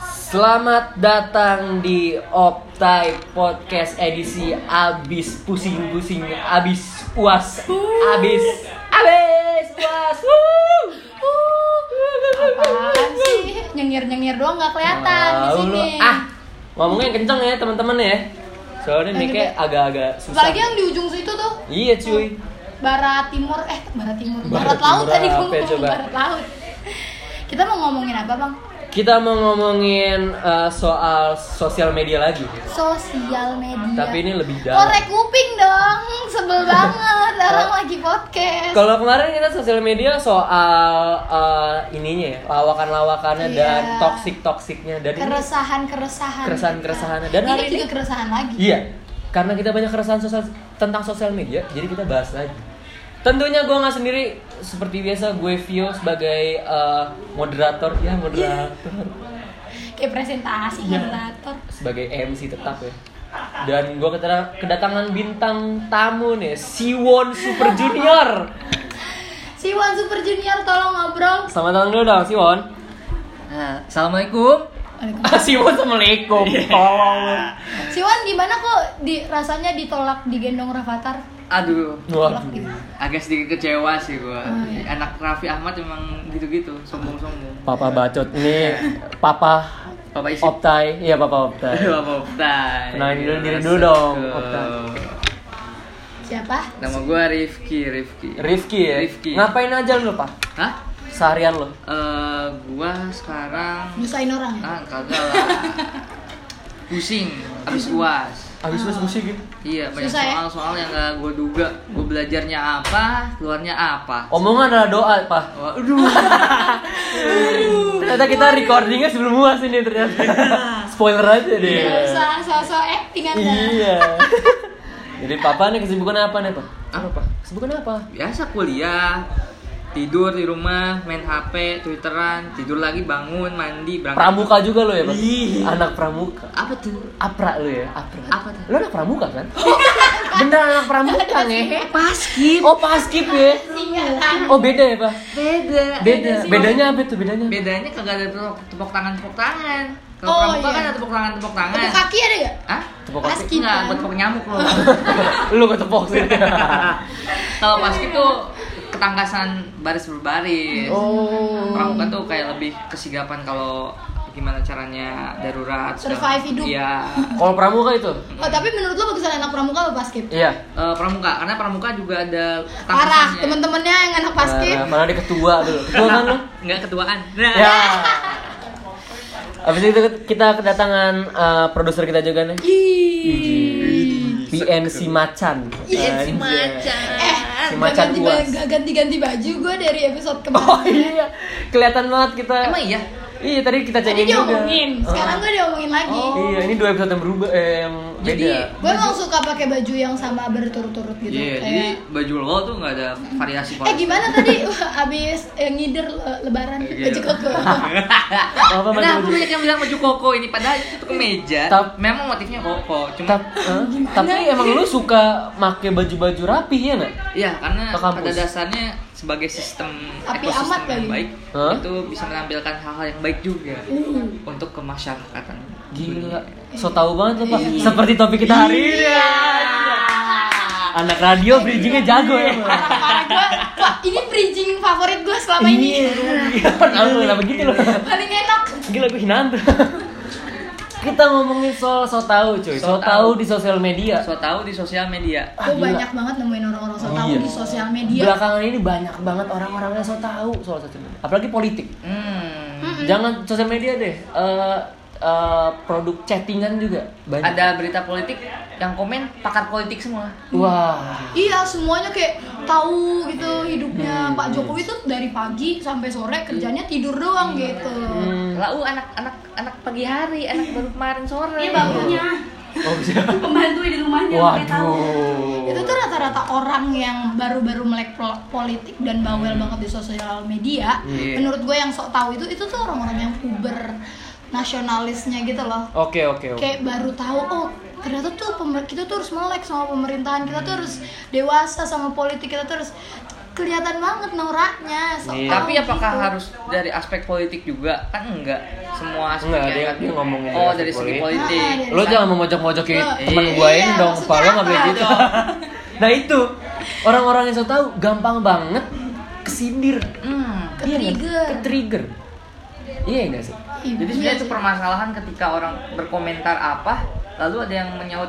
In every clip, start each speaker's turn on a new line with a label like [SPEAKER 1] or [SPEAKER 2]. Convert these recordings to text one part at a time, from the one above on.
[SPEAKER 1] Selamat datang di Optai Podcast edisi abis pusing-pusing, abis puas, abis abis puas. Wuh.
[SPEAKER 2] Apaan sih? Nyengir-nyengir doang nggak kelihatan di
[SPEAKER 1] Tahu lu.
[SPEAKER 2] sini.
[SPEAKER 1] Ah, ngomongnya yang kenceng ya teman-teman ya. Soalnya
[SPEAKER 2] Lanjut
[SPEAKER 1] mikir
[SPEAKER 2] ya.
[SPEAKER 1] agak-agak susah.
[SPEAKER 2] Apalagi yang di ujung situ tuh
[SPEAKER 1] Iya cuy.
[SPEAKER 2] barat timur eh barat timur
[SPEAKER 1] Barat
[SPEAKER 2] barat, laut
[SPEAKER 1] timur
[SPEAKER 2] tadi
[SPEAKER 1] apa ya,
[SPEAKER 2] ngomong
[SPEAKER 1] coba?
[SPEAKER 2] barat laut. Kita mau ngomongin apa bang?
[SPEAKER 1] Kita mau ngomongin eh, soal sosial media lagi.
[SPEAKER 2] Sosial media.
[SPEAKER 1] Tapi ini lebih dalam.
[SPEAKER 2] korek kuping dong, sebel banget. Orang lagi podcast.
[SPEAKER 1] Kalau kemarin kita sosial media soal eh, ininya ya, lawakan-lawakannya
[SPEAKER 2] Iya.
[SPEAKER 1] dan toksik-toksiknya dan ini
[SPEAKER 2] keresahan keresahan.
[SPEAKER 1] Keresahan-keresahannya. Dan hari
[SPEAKER 2] ini juga keresahan lagi.
[SPEAKER 1] Iya, karena kita banyak keresahan sosial, tentang sosial media, jadi kita bahas lagi. Tentunya gue nggak sendiri, seperti biasa gue Vio sebagai eh, moderator ya moderator,
[SPEAKER 2] Kayak presentasi
[SPEAKER 1] Iya.
[SPEAKER 2] moderator.
[SPEAKER 1] sebagai MC tetap ya. Dan gue kedatangan bintang tamu nih, Siwon Super Junior.
[SPEAKER 2] Si Wan Super Junior tolong ngobrol.
[SPEAKER 1] Selamat datang dulu dong Siwon.
[SPEAKER 3] Nah, Assalamualaikum.
[SPEAKER 2] Waalaikumsalam.
[SPEAKER 1] Ah, Siwon assalamualaikum. Tolong. lu.
[SPEAKER 3] Iya.
[SPEAKER 2] Si Wan gimana kok di, rasanya ditolak digendong Rafathar?
[SPEAKER 3] Aduh,
[SPEAKER 2] Tolak
[SPEAKER 1] Waduh.
[SPEAKER 2] gitu.
[SPEAKER 3] agak sedikit kecewa sih gua.
[SPEAKER 2] Oh, iya.
[SPEAKER 3] Anak Raffi Ahmad emang gitu-gitu, sombong-sombong.
[SPEAKER 1] Papa bacot nih, Papa
[SPEAKER 3] Papa isi. Oh,
[SPEAKER 1] Optai, iya Papa Optai.
[SPEAKER 3] Papa Optai.
[SPEAKER 1] Kenalin dulu diri
[SPEAKER 3] Masuk
[SPEAKER 1] dulu dong,
[SPEAKER 3] ke-
[SPEAKER 1] Optai.
[SPEAKER 2] Siapa?
[SPEAKER 3] Nama gua Rifki, Rifki.
[SPEAKER 1] Rifki ya.
[SPEAKER 3] Rifki.
[SPEAKER 1] Ngapain aja lu pak?
[SPEAKER 3] Hah?
[SPEAKER 1] Seharian lu?
[SPEAKER 3] Eh, gua sekarang
[SPEAKER 2] Nyusahin orang ya?
[SPEAKER 3] ah kagak lah. Pusing habis UAS.
[SPEAKER 1] Abis lu musik gitu.
[SPEAKER 3] Iya, banyak
[SPEAKER 2] Susah ya?
[SPEAKER 3] soal-soal yang gak gua duga. Gua belajarnya apa, keluarnya apa.
[SPEAKER 1] Omongan adalah doa pak.
[SPEAKER 3] Waduh.
[SPEAKER 1] Ternyata kita recordingnya sebelum muas ini ternyata.
[SPEAKER 3] Iya.
[SPEAKER 1] Spoiler aja deh.
[SPEAKER 2] Nggak usah sosok eh, acting anda
[SPEAKER 1] Iya. Jadi papa nih kesibukan apa nih pak?
[SPEAKER 3] Apa, Pak?
[SPEAKER 1] Kesibukan apa?
[SPEAKER 3] biasa kuliah tidur di rumah main HP twitteran tidur lagi bangun mandi berangkat
[SPEAKER 1] Pramuka juga lo ya pak?
[SPEAKER 3] Iya.
[SPEAKER 1] Anak pramuka.
[SPEAKER 3] apa tuh
[SPEAKER 1] Apra lu ya? Apra.
[SPEAKER 3] Apa tuh?
[SPEAKER 1] Lu anak pramuka kan? Bener anak pramuka
[SPEAKER 2] ya?
[SPEAKER 1] nih.
[SPEAKER 3] paskib
[SPEAKER 1] Oh paskip ya?
[SPEAKER 2] Singkatan
[SPEAKER 1] Oh beda ya pak?
[SPEAKER 3] beda
[SPEAKER 1] Beda. Bedanya apa tuh bedanya?
[SPEAKER 3] bedanya kagak ada tepuk, tepuk tangan tepuk tangan kalau
[SPEAKER 2] Oh,
[SPEAKER 3] pramuka
[SPEAKER 2] iya.
[SPEAKER 3] kan ada tepuk tangan tepuk tangan
[SPEAKER 2] Tepuk kaki ada gak?
[SPEAKER 3] Hah?
[SPEAKER 1] Tepuk kaki.
[SPEAKER 2] Paskib
[SPEAKER 3] Enggak,
[SPEAKER 2] kan?
[SPEAKER 3] buat tepuk nyamuk loh
[SPEAKER 1] lu ketepok sih.
[SPEAKER 3] kalau paskib tuh ketangkasan baris berbaris
[SPEAKER 1] oh.
[SPEAKER 3] pramuka tuh kayak lebih kesigapan kalau gimana caranya darurat segala-
[SPEAKER 2] Survive hidup.
[SPEAKER 3] iya
[SPEAKER 1] Kalau pramuka itu?
[SPEAKER 2] Oh tapi menurut lo bagusan anak pramuka apa paskib?
[SPEAKER 1] Iya.
[SPEAKER 3] Eh, pramuka karena pramuka juga ada
[SPEAKER 2] Parah,
[SPEAKER 3] ketangkasannya.
[SPEAKER 2] temen-temennya yang anak paskib
[SPEAKER 1] Nah, Mana, mana ada ketua dulu. Ketua kan lu?
[SPEAKER 3] nggak ketuaan nah.
[SPEAKER 1] Ya. Habis itu kita kedatangan eh, produser kita juga nih.
[SPEAKER 2] Ih.
[SPEAKER 1] PNC Macan.
[SPEAKER 2] PNC
[SPEAKER 1] Anjay.
[SPEAKER 2] Eh,
[SPEAKER 1] Iya, Si
[SPEAKER 2] gua
[SPEAKER 1] macan
[SPEAKER 2] ganti,
[SPEAKER 1] uas.
[SPEAKER 2] gua ganti-ganti baju gue dari episode kemarin
[SPEAKER 1] Oh iya, kelihatan banget kita.
[SPEAKER 3] emang iya
[SPEAKER 1] Iya, tadi kita
[SPEAKER 2] Tadi
[SPEAKER 1] cengin juga.
[SPEAKER 2] diomongin, sekarang gue diomongin lagi
[SPEAKER 1] Oh. Iya, ini dua episode yang berubah eh, yang
[SPEAKER 3] Jadi,
[SPEAKER 1] beda.
[SPEAKER 2] Gue emang suka pakai baju yang sama berturut-turut gitu
[SPEAKER 3] Iya,
[SPEAKER 2] kayak-
[SPEAKER 3] jadi baju lo tuh nggak ada variasi
[SPEAKER 2] Eh gimana tadi abis eh, ngider eh, lebaran
[SPEAKER 3] Iya.
[SPEAKER 2] baju koko
[SPEAKER 1] Apa baju-
[SPEAKER 3] Nah, aku
[SPEAKER 1] baju-
[SPEAKER 3] banyak yang bilang baju koko ini padahal itu tuh kemeja.
[SPEAKER 1] Tap-
[SPEAKER 3] Memang motifnya koko, cuma
[SPEAKER 1] Tap- eh, tapi emang lu suka make baju-baju rapi ya nak?
[SPEAKER 3] ya karena
[SPEAKER 1] Ke kampus.
[SPEAKER 3] pada dasarnya sebagai sistem
[SPEAKER 2] Tapi
[SPEAKER 3] ekosistem
[SPEAKER 2] amat
[SPEAKER 3] yang
[SPEAKER 2] lagi.
[SPEAKER 3] baik
[SPEAKER 1] Hah?
[SPEAKER 3] itu bisa menampilkan hal-hal yang baik juga
[SPEAKER 2] Uh.
[SPEAKER 3] untuk kemasyarakatan.
[SPEAKER 1] Gila, so tau banget loh pak. Seperti topik kita hari ini. Anak radio bridgingnya jago ya. Pak.
[SPEAKER 2] Parah gue, wah ini bridging favorit gue selama ini
[SPEAKER 1] Iya, Kenapa lu, kenapa gitu loh?
[SPEAKER 2] Paling enak
[SPEAKER 1] Gila gue hinaan tuh. Kita ngomongin soal so tau cuy, so
[SPEAKER 3] So
[SPEAKER 1] tau
[SPEAKER 3] tau.
[SPEAKER 1] di sosial media.
[SPEAKER 3] So tau di sosial media.
[SPEAKER 1] Ah,
[SPEAKER 2] Gue
[SPEAKER 1] gila.
[SPEAKER 2] banyak banget nemuin orang-orang so tau
[SPEAKER 1] Iya.
[SPEAKER 2] di sosial media
[SPEAKER 1] Belakangan ini banyak banget orang-orang yang so tau soal sosial media, apalagi politik.
[SPEAKER 3] Hmm.
[SPEAKER 2] Mm-mm.
[SPEAKER 1] Jangan sosial media deh. eh, eh, produk chattingan juga banyak.
[SPEAKER 3] Ada berita politik yang komen pakar politik semua.
[SPEAKER 1] Wah.
[SPEAKER 2] Iya semuanya kayak tahu gitu hidupnya
[SPEAKER 1] Hmm,
[SPEAKER 2] Pak Jokowi
[SPEAKER 1] iya.
[SPEAKER 2] tuh dari pagi sampai sore kerjanya tidur doang gitu
[SPEAKER 1] Hmm.
[SPEAKER 3] Lau uh, anak anak anak pagi hari, anak baru kemarin sore. Gitu.
[SPEAKER 4] Dia bangunnya
[SPEAKER 1] Oh, bisa.
[SPEAKER 4] pembantu di rumahnya nggak tahu.
[SPEAKER 1] Waduh.
[SPEAKER 2] Itu tuh rata-rata orang yang baru-baru melek pol- politik dan bawel banget di sosial media.
[SPEAKER 3] Hmm. Iya.
[SPEAKER 2] Menurut gue yang sok tahu itu itu tuh orang-orang yang puber nasionalisnya gitu loh.
[SPEAKER 1] Oke oke oke.
[SPEAKER 2] Kayak baru tahu oh ternyata
[SPEAKER 3] Hmm.
[SPEAKER 2] tuh pemer- kita tuh harus melek sama pemerintahan, kita tuh harus dewasa sama politik, kita tuh harus kelihatan banget noraknya so
[SPEAKER 1] Iya.
[SPEAKER 2] tau
[SPEAKER 3] Tapi apakah
[SPEAKER 2] gitu.
[SPEAKER 3] harus dari aspek politik juga? Kan enggak. Semua aspek
[SPEAKER 1] Enggak,
[SPEAKER 3] yang
[SPEAKER 1] dia-
[SPEAKER 3] kan-
[SPEAKER 1] dia ngomongin dari
[SPEAKER 3] Oh,
[SPEAKER 1] aspek
[SPEAKER 3] dari segi
[SPEAKER 1] politik.
[SPEAKER 3] politik.
[SPEAKER 2] Ah, dari
[SPEAKER 1] Lo jangan memojok-mojokin
[SPEAKER 2] Lo-
[SPEAKER 1] temen gue
[SPEAKER 2] iya,
[SPEAKER 1] ini dong,
[SPEAKER 2] maksudnya
[SPEAKER 1] Pak. Lo nggak boleh
[SPEAKER 2] apa?
[SPEAKER 1] gitu. nah itu, orang-orang yang so tau gampang banget kesindir.
[SPEAKER 3] Hmm.
[SPEAKER 1] Iya nggak?
[SPEAKER 2] Ketrigger.
[SPEAKER 1] Ketrigger. Iya nggak sih?
[SPEAKER 2] Ih,
[SPEAKER 3] Jadi
[SPEAKER 2] iya
[SPEAKER 3] sebenarnya itu
[SPEAKER 2] sih.
[SPEAKER 3] permasalahan ketika orang berkomentar apa, lalu ada yang menyaut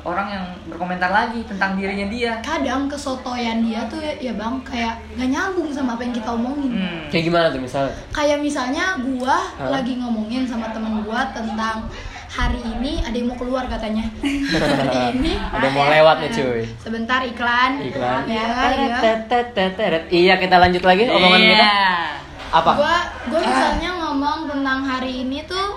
[SPEAKER 3] orang yang berkomentar lagi tentang dirinya dia.
[SPEAKER 2] kadang kesotoyan dia tuh ya, ya bang kayak gak nyambung sama apa yang kita omongin
[SPEAKER 3] Hmm.
[SPEAKER 1] Kayak gimana tuh misalnya?
[SPEAKER 2] kayak misalnya gua
[SPEAKER 1] Hah?
[SPEAKER 2] lagi ngomongin sama temen gua tentang hari ini ada yang mau keluar katanya hari ini Nah,
[SPEAKER 1] Ada yang mau lewat nih, cuy.
[SPEAKER 2] sebentar iklan
[SPEAKER 1] Iklan.
[SPEAKER 2] ya, ya.
[SPEAKER 1] Teteteteteret. Iya kita lanjut lagi omongan
[SPEAKER 3] Iya.
[SPEAKER 1] kita. Apa?
[SPEAKER 2] Gua, gua misalnya ngomong tentang hari ini tuh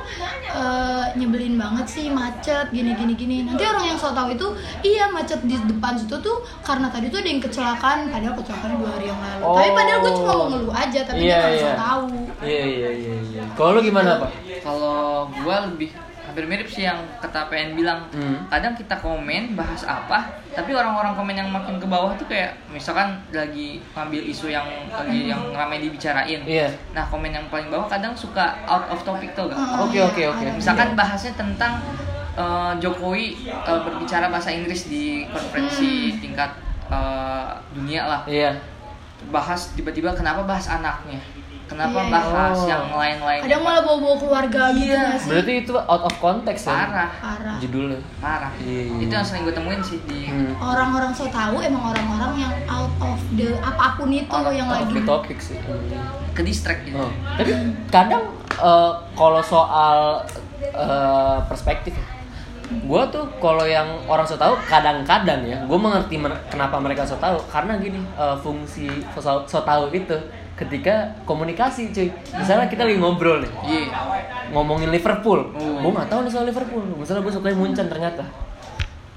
[SPEAKER 2] eh, nyebelin banget sih macet gini gini gini. Nanti orang yang so tau itu iya macet di depan situ tuh karena tadi tuh ada yang kecelakaan padahal kecelakaan dua hari yang lalu. Tapi padahal gua cuma mau ngeluh aja tapi
[SPEAKER 1] Iya,
[SPEAKER 2] dia orang
[SPEAKER 1] iya.
[SPEAKER 2] so tau.
[SPEAKER 1] Iya iya iya. iya. Kalau lu gimana pak?
[SPEAKER 3] Kalau gua lebih hampir mirip sih yang kata PN bilang.
[SPEAKER 1] Hmm.
[SPEAKER 3] Kadang kita komen bahas apa, tapi orang-orang komen yang makin ke bawah tuh kayak misalkan lagi ngambil isu yang lagi yang ramai dibicarain.
[SPEAKER 1] Iya.
[SPEAKER 3] Nah, komen yang paling bawah kadang suka out of topic tuh gak?
[SPEAKER 1] Oke,
[SPEAKER 2] iya,
[SPEAKER 1] oke, oke.
[SPEAKER 2] ada.
[SPEAKER 3] Misalkan bahasnya tentang eh, Jokowi eh, berbicara bahasa Inggris di
[SPEAKER 2] Hmm.
[SPEAKER 3] konferensi tingkat eh, dunia lah.
[SPEAKER 1] Iya.
[SPEAKER 3] Bahas tiba-tiba kenapa bahas anaknya? Kenapa
[SPEAKER 2] Iya, iya.
[SPEAKER 3] bahas
[SPEAKER 1] Oh.
[SPEAKER 3] yang lain-lain?
[SPEAKER 2] kadang malah bawa-bawa keluarga gitu
[SPEAKER 3] Iya.
[SPEAKER 2] gak sih?
[SPEAKER 1] Berarti itu out of context ya?
[SPEAKER 3] parah,
[SPEAKER 2] Parah.
[SPEAKER 1] Judulnya.
[SPEAKER 3] parah.
[SPEAKER 1] Iya, iya.
[SPEAKER 3] Itu yang sering gue temuin sih di
[SPEAKER 1] Hmm.
[SPEAKER 2] Orang-orang so tau emang orang-orang yang out of the apapun itu
[SPEAKER 3] Out of
[SPEAKER 2] yang
[SPEAKER 1] Out of
[SPEAKER 2] lagi.
[SPEAKER 1] the topic sih. Hmm.
[SPEAKER 3] ke distract gitu.
[SPEAKER 1] Oh, Tapi kadang eh, kalau soal eh, perspektif, gue tuh kalau yang orang so tau kadang-kadang ya, gue mengerti mer- kenapa mereka so tau karena gini eh, fungsi so, so tau itu ketika komunikasi cuy. Misalnya kita lagi ngobrol nih,
[SPEAKER 3] Iya.
[SPEAKER 1] ngomongin Liverpool,
[SPEAKER 2] Oh.
[SPEAKER 3] Hmm.
[SPEAKER 1] gue nggak tahu nih soal Liverpool. Misalnya gue suka Munchen ternyata.